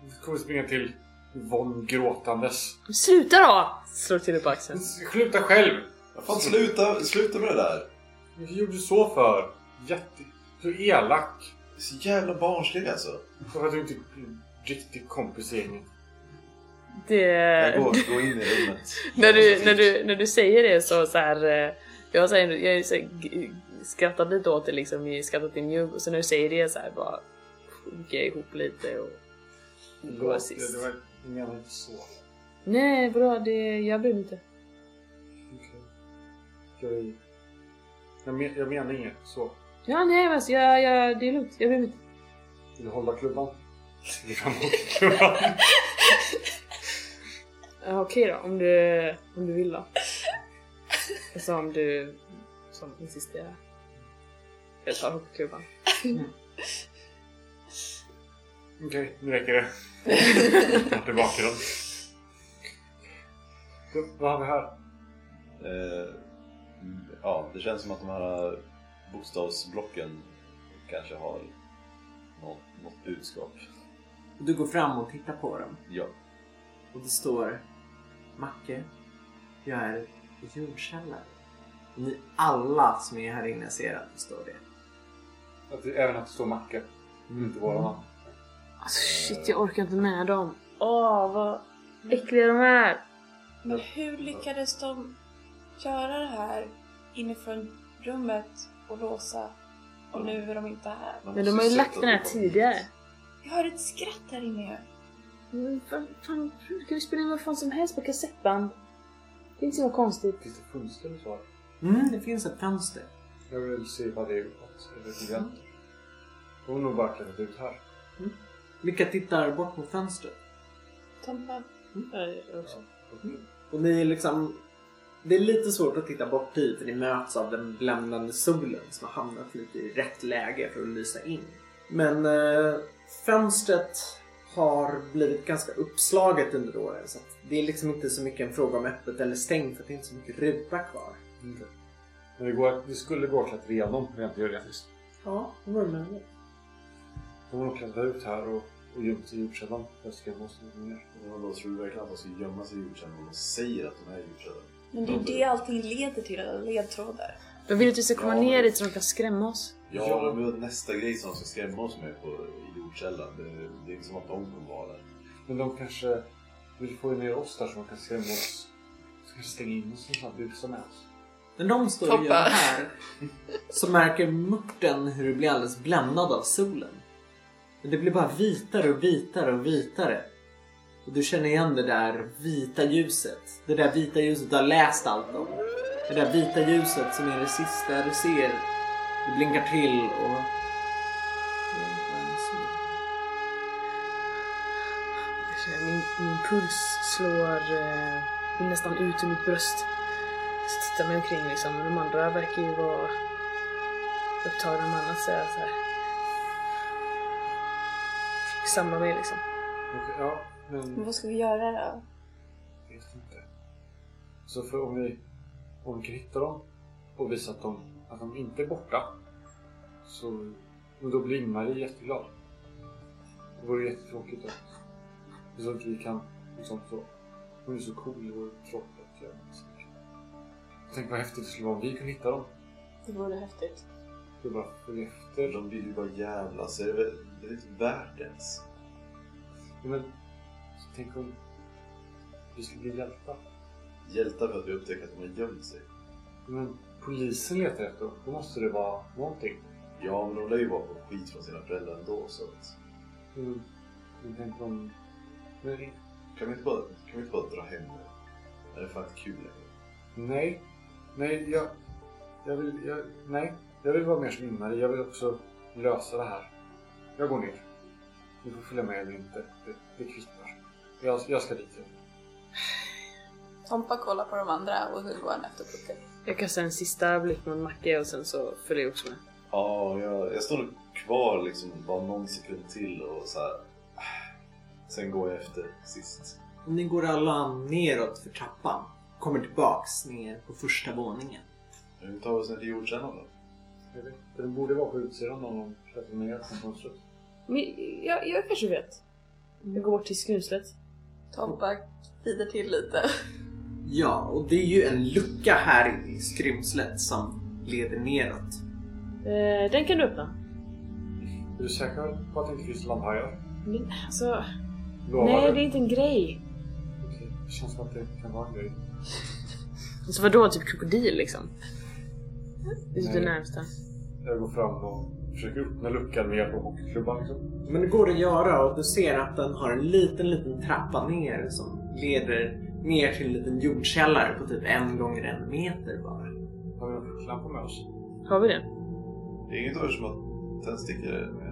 Speaker 3: Du kommer springa till Yvonne gråtandes.
Speaker 4: Men Sluta då! Slår till dig på axeln.
Speaker 3: Sluta själv!
Speaker 6: Fan, sluta, sluta med det där.
Speaker 3: Vad gjorde du så för? Jätte... Så elak.
Speaker 6: Det är så jävla barnslig alltså.
Speaker 3: För att du inte är en riktig kompis i gänget.
Speaker 4: Det...
Speaker 6: Jag går, går in i rummet.
Speaker 4: Eh. när, du, när, du, när du säger det så, så här, eh, jag, säger, jag är så här, g- skrattar lite åt det liksom, jag skrattar till mjugg och så när du säger det så här bara sjunker jag ihop lite och
Speaker 3: Gå sist. Det var menar inte så.
Speaker 4: Nej, bra. Det, jag bryr mig inte.
Speaker 3: Okej. Ska vi... Jag, men, jag menar inget så.
Speaker 4: Ja, nej, men alltså, jag, jag, det är lugnt. Jag bryr mig inte.
Speaker 3: Vill du hålla klubban? Lägg fram klubban.
Speaker 4: Ja, Okej då, om du, om du vill då. Alltså om du som insisterar. Jag tar hockeyklubban.
Speaker 3: Okej, nu räcker det. Jag är tillbaka dem. Då, Vad har vi här?
Speaker 6: Eh, ja, det känns som att de här bokstavsblocken kanske har något, något budskap.
Speaker 2: Och du går fram och tittar på dem.
Speaker 6: Ja.
Speaker 2: Och det står Macke, jag är i jordkällare. Och Ni alla som är här inne ser att det står det.
Speaker 3: Att det, även att det står Macke.
Speaker 2: Mm.
Speaker 3: Inte våra namn.
Speaker 4: Alltså shit, jag orkar inte med dem. Åh, vad äckliga de är.
Speaker 9: Men hur lyckades de göra det här inifrån rummet och låsa och nu är de inte här?
Speaker 6: Man
Speaker 4: Men de
Speaker 6: måste
Speaker 4: har ju
Speaker 6: sätta
Speaker 4: lagt den här
Speaker 6: på-
Speaker 4: tidigare.
Speaker 9: Jag hör ett skratt här inne ju.
Speaker 4: Men Mm, Fan, fan, kan vi spela in vad fan som helst på kassettband? Det är inte så himla konstigt.
Speaker 3: Finns det fönster och så?
Speaker 2: Mm, det finns ett fönster.
Speaker 3: Jag vill se vad det är uppåt. Eller studenter. De har nog bara klättrat ut här.
Speaker 2: Vilka tittar bort mot fönstret?
Speaker 9: Tompa.
Speaker 4: Mm.
Speaker 2: Och ni är liksom... Det är lite svårt att titta bort hit för ni möts av den bländande solen som har hamnat lite i rätt läge för att lysa in. Men eh, fönstret har blivit ganska uppslaget under åren så att det är liksom inte så mycket en fråga om öppet eller stängt för att det är inte så mycket ruta kvar.
Speaker 3: Inte. Men det, går, det skulle gå att klättra igenom rent teoretiskt.
Speaker 2: Ja, det vore möjligt.
Speaker 3: De har nog klättrat ut här och, och gömt sig i jordkällan. Jag ska måste gå ner.
Speaker 6: Ja, då tror du verkligen att de ska gömma sig i jordkällan om de säger att de är i jordkällan?
Speaker 9: Men det är det allting leder till, alla ledtrådar.
Speaker 4: De vill att vi ska komma
Speaker 6: Ja,
Speaker 4: ner
Speaker 6: men-
Speaker 4: dit så de kan skrämma oss.
Speaker 6: Ja, men det är nästa grej som de ska skrämma oss med på i jordkällan. Det, det är inte som att de kommer vara där.
Speaker 3: Men de kanske vill få ner oss där så de kan skrämma oss. Så kanske stänga in oss någonstans. Busa med oss.
Speaker 2: När de står och
Speaker 7: Toppa.
Speaker 2: gör det här så märker mörten hur du blir alldeles bländad av solen. Men det blir bara vitare och vitare och vitare. Och du känner igen det där vita ljuset. Det där vita ljuset du har läst allt om. Det där vita ljuset som är det sista du ser. Det blinkar till och...
Speaker 4: Jag känner Min, min puls slår eh, går nästan ut ur mitt bröst. Så tittar mig omkring liksom, men de andra verkar ju vara upptagna med annat. Så jag så här. Samlar mig liksom.
Speaker 3: Okej, ja, men...
Speaker 9: Men vad ska vi göra då?
Speaker 3: Jag vet inte. Så för om vi, om vi kan hitta dem och visa att de, att de inte är borta så men då blir Marie jätteglad. Det vore jättetråkigt att, så att vi kan liksom så. Hon är så cool, det vore tråkigt att göra något sånt. Tänk vad häftigt det skulle vara om vi kunde hitta dem.
Speaker 9: Det vore häftigt.
Speaker 3: Det är bara för efter.
Speaker 6: De blir ju bara jävla så är det, väl- det är inte värt ens.
Speaker 3: Men så tänk om vi skulle bli hjälpta.
Speaker 6: Hjältar för att vi upptäcker att de har gömt sig.
Speaker 3: Men polisen letar efter dem. Då måste det vara någonting.
Speaker 6: Ja, men de lär ju vara på skit från sina föräldrar ändå så att...
Speaker 3: Mm. Men tänk om... Men
Speaker 6: Kan vi inte bara, kan vi inte bara dra hem nu? Det är fan inte kul längre.
Speaker 3: Nej. Nej, jag... Jag vill... Jag, nej. Jag vill vara mer som Ingmarie. Jag vill också lösa det här. Jag går ner. Ni får följa med eller inte. Det, det kvittar. Jag, jag ska dit.
Speaker 7: Tompa kollar på de andra och hur går han efter pucken?
Speaker 4: Jag kastar en sista blick mot Macke och sen så följer jag också med.
Speaker 6: Ja, jag, jag står nog kvar liksom bara någon sekund till och så här. "Ah." Sen går jag efter sist.
Speaker 2: Och ni går alla neråt för trappan. Kommer tillbaks ner på första våningen.
Speaker 6: Hur tar vi oss ner till jordkällan då?
Speaker 3: Jag vet inte. Den borde vara på utsidan om de klättrar ner från fönstret.
Speaker 4: Men jag, jag kanske vet. Jag går bort till skrymslet.
Speaker 7: Tompa vrider till lite.
Speaker 2: Ja, och det är ju en lucka här i skrymslet som leder neråt.
Speaker 4: Eh, den kan du öppna.
Speaker 3: Är du säker på att det inte finns lamphajar?
Speaker 4: Men, alltså,
Speaker 3: Lovar
Speaker 4: nej,
Speaker 3: du?
Speaker 4: det är inte en grej.
Speaker 3: Okej. Det känns som att det kan vara en grej.
Speaker 4: Alltså vadå, typ krokodil liksom? Det är typ det
Speaker 3: Nej.
Speaker 4: närmsta.
Speaker 3: Jag går fram och försöker öppna luckan med hjälp av hockeyklubban liksom.
Speaker 2: Men det går att göra och du ser att den har en liten, liten trappa ner som leder ner till en liten jordkällare på typ en gånger en meter bara.
Speaker 3: Har vi någon ficklampa med oss?
Speaker 4: Har vi det?
Speaker 6: Det är inget av er som har tändstickor med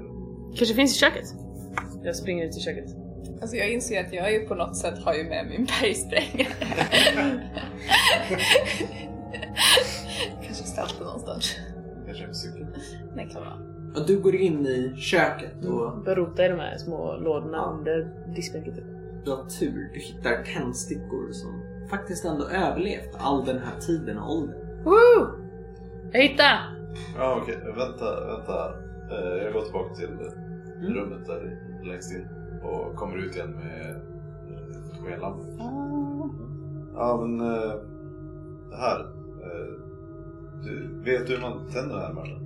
Speaker 4: Kanske finns i köket? Jag springer ut i köket.
Speaker 8: Alltså jag inser att jag ju på något sätt har ju med min bergsprängare. Kanske ställt den någonstans.
Speaker 6: kanske en cykel?
Speaker 8: Det kan vara.
Speaker 2: Och du går in i köket och
Speaker 4: Börjar rota i de här små lådorna under diskbänken. typ.
Speaker 2: du har tur. Du hittar tändstickor som faktiskt ändå överlevt all den här tiden och åldern.
Speaker 4: Woo! Jag hittade!
Speaker 6: Ja Ah, okej, vänta, vänta. Eh, Jag går tillbaka till eh, rummet där längst in och kommer ut igen med, med en lampa. Ah. Ja men eh, det här. eh, Du, vet du hur man tänder den här matchen?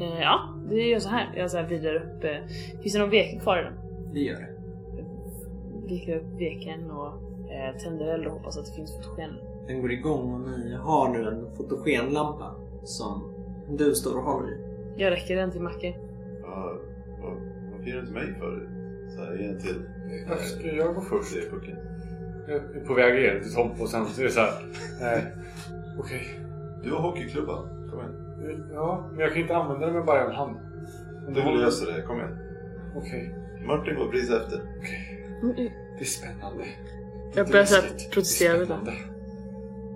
Speaker 4: Eh, ja, det gör så här. Jag så här vrider upp... Eh, finns det någon veke kvar i den?
Speaker 2: Det gör det.
Speaker 4: Viker upp veken och eh, tänder eld och hoppas att det finns fotogen.
Speaker 2: Den går igång och ni har nu en fotogenlampa som du står och håller i.
Speaker 4: Jag räcker den till Macke.
Speaker 6: Ja, vad, vad firar du till mig för? Så här, ge en till.
Speaker 3: Varför ska Eh, jag gå först?
Speaker 6: Det är pucken.
Speaker 3: Jag är Eh, på väg igen till Tompo och sen så är det såhär... Eh, Okej.
Speaker 6: Du har hockeyklubban. Kom igen.
Speaker 3: Ja, men jag kan inte använda den med bara en hand.
Speaker 6: Du vill lösa det. Kom igen.
Speaker 3: Okej.
Speaker 6: Martin går precis efter.
Speaker 4: Mm,
Speaker 3: Det är spännande.
Speaker 4: Jag
Speaker 3: Det är
Speaker 4: börjar så här
Speaker 3: läskigt.
Speaker 4: protestera
Speaker 3: Det är
Speaker 4: lite.
Speaker 3: spännande.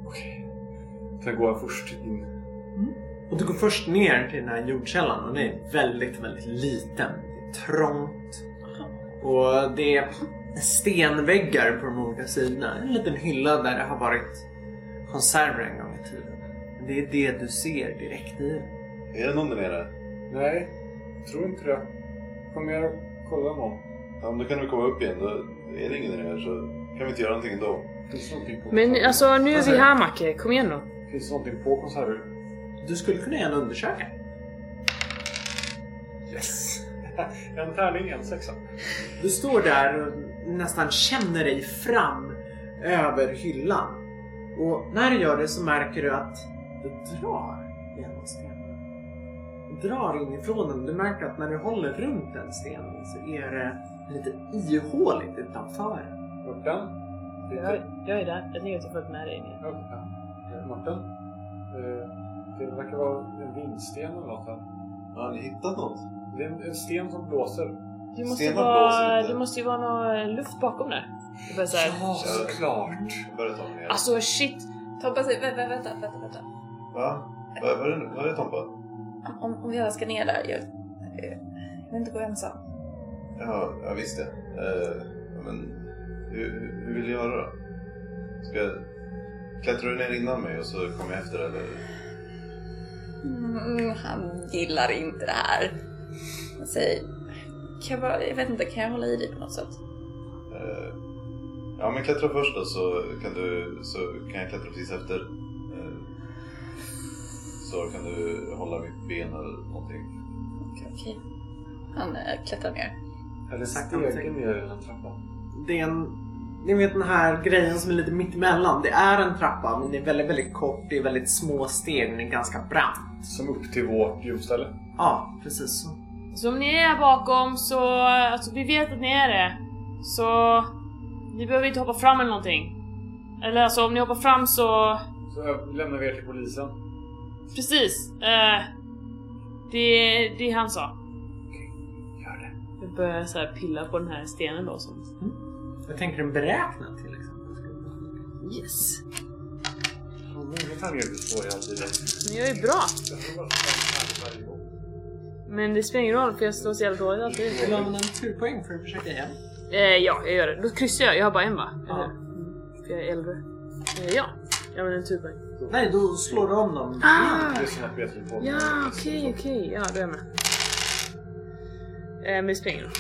Speaker 3: Okej. Sen går jag först in.
Speaker 2: Och du går först ner till den här jordkällan och den är väldigt, väldigt liten. Det är trångt. Och det är stenväggar på de olika sidorna. En liten hylla där det har varit konserver en gång i tiden. Men Det är det du ser direkt i den.
Speaker 6: Är det någon där nere?
Speaker 3: Nej, tror inte det. Kom ner och kolla någon.
Speaker 6: Ja, men då kan du komma upp igen. Då är det ingen där nere så kan vi inte göra någonting ändå.
Speaker 3: Finns det någonting på
Speaker 4: Men
Speaker 3: konserven?
Speaker 4: alltså nu är
Speaker 3: Vad
Speaker 4: vi
Speaker 3: säger
Speaker 4: här Macke, kom igen då.
Speaker 3: du? Finns det någonting på konserven?
Speaker 2: Du skulle kunna göra en undersöka.
Speaker 3: Yes! en tärning, en sexa.
Speaker 2: Du står där och nästan känner dig fram över hyllan. Och när du gör det så märker du att du drar i en av stenarna. Du drar inifrån den. Du märker att när du håller runt den stenen så är det lite ihåligt utanför.
Speaker 3: Örten?
Speaker 4: Jag, jag är där, jag tänker att jag följt med dig ner.
Speaker 3: Örten? Martin? Eh, Det verkar vara en vindsten eller något. här.
Speaker 6: Har ni hittat något?
Speaker 3: Det är en- en sten som blåser.
Speaker 4: Du måste, ju
Speaker 6: Stenar
Speaker 4: vara,
Speaker 6: blåser lite.
Speaker 4: det måste ju vara någon eh, luft bakom där. Jag börjar så här,
Speaker 3: såklart!
Speaker 6: Jag börjar ta mig ner.
Speaker 4: Alltså shit!
Speaker 8: Tobbe säger, vä- vä- vänta, vänta, vänta.
Speaker 6: Va? Vad vad är det nu? Vad är det Tompa?
Speaker 8: Om, om jag ska ner där, jag, eh, jag vill inte gå ensam.
Speaker 6: Ja, jag visste. Eh, men hur, hur- hur vill du göra då? Ska jag... Klättrar du ner innan mig och så kommer jag efter eller?
Speaker 8: Mm, han gillar inte det här. Han säger, kan jag, bara, jag vet inte, kan jag hålla i dig på något sätt?
Speaker 6: Eh, ja men klättra först då så kan du... Så kan jag klättra precis efter. Eh, så kan du hålla mitt ben eller någonting.
Speaker 8: Okej. okej. Han eh, klättrar ner.
Speaker 3: Eller
Speaker 2: Sakta
Speaker 3: stegen
Speaker 2: men
Speaker 3: ner i den trappan.
Speaker 2: Det är en, ni vet den här grejen som är lite mittemellan. Det är en trappa men det är väldigt, väldigt kort. Det är väldigt små steg men det är ganska brant.
Speaker 3: Som upp till vårt ljusställe.
Speaker 2: Ja, precis så.
Speaker 4: Så om ni är här bakom så, alltså vi vet att ni är det. Så ni behöver inte hoppa fram eller någonting. Eller alltså om ni hoppar fram så,
Speaker 3: Så jag lämnar vi er till polisen.
Speaker 4: precis. Eh, det, det han sa.
Speaker 3: Gör det.
Speaker 4: Jag börjar så här pilla på den här stenen då som...
Speaker 2: Jag tänker en beräkna till exempel.
Speaker 4: Yes!
Speaker 3: Hur många tärningar du slår i all tiden?
Speaker 4: Men jag är bra!
Speaker 3: Jag tror bara fem tärningar varje gång.
Speaker 4: Men det spelar ingen roll för jag slår så jävla dåligt alltid.
Speaker 2: Vill du använda en turpoäng för att försöka igen?
Speaker 4: Eh, ja, jag gör det. Då kryssar jag. Jag har bara en va?
Speaker 2: Ja.
Speaker 4: Eller? Mm, För jag är äldre. Eh, ja, jag använder en typ. turpoäng.
Speaker 2: Nej, då slår du om dem.
Speaker 3: Det är sån här Beatrice på.
Speaker 4: Ja, okej, okej. Ja, då är jag med. Eh, men det spelar ingen roll.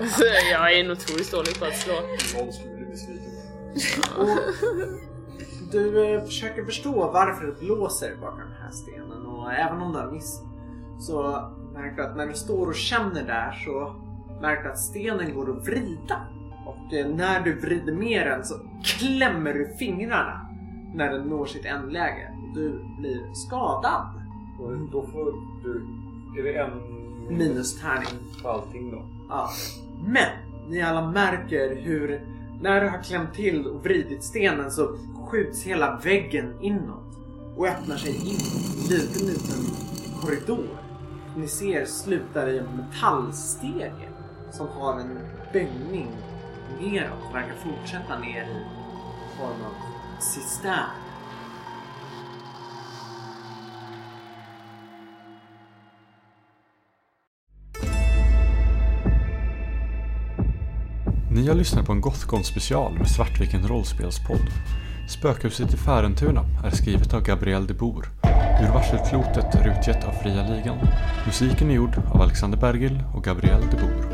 Speaker 4: alltså, jag är en otroligt dålig på att slå.
Speaker 3: Någon skulle bli besviken.
Speaker 2: Du eh, försöker förstå varför det blåser bakom den här stenen och även om du har miss så märker du att när du står och känner där så märker du att stenen går att vrida. Och eh, när du vrider med den så klämmer du fingrarna när den når sitt ändläge. Du blir skadad.
Speaker 3: Och då får du Är det en
Speaker 2: Minus tärning.
Speaker 3: på allting då?
Speaker 2: Ja. Men ni alla märker hur när du har klämt till och vridit stenen så skjuts hela väggen inåt och öppnar sig in i en liten, liten korridor. Ni ser slutar i en metallstege som har en böjning neråt och verkar fortsätta ner i form av cistern.
Speaker 1: Ni har lyssnat på en Gothcon special med Svartviken rollspelspodd. Spökhuset i Färentuna är skrivet av Gabriel de Boer. Ur Varselklotet är utgett av Fria Ligan. Musiken är gjord av Alexander Bergil och Gabriel de Boer.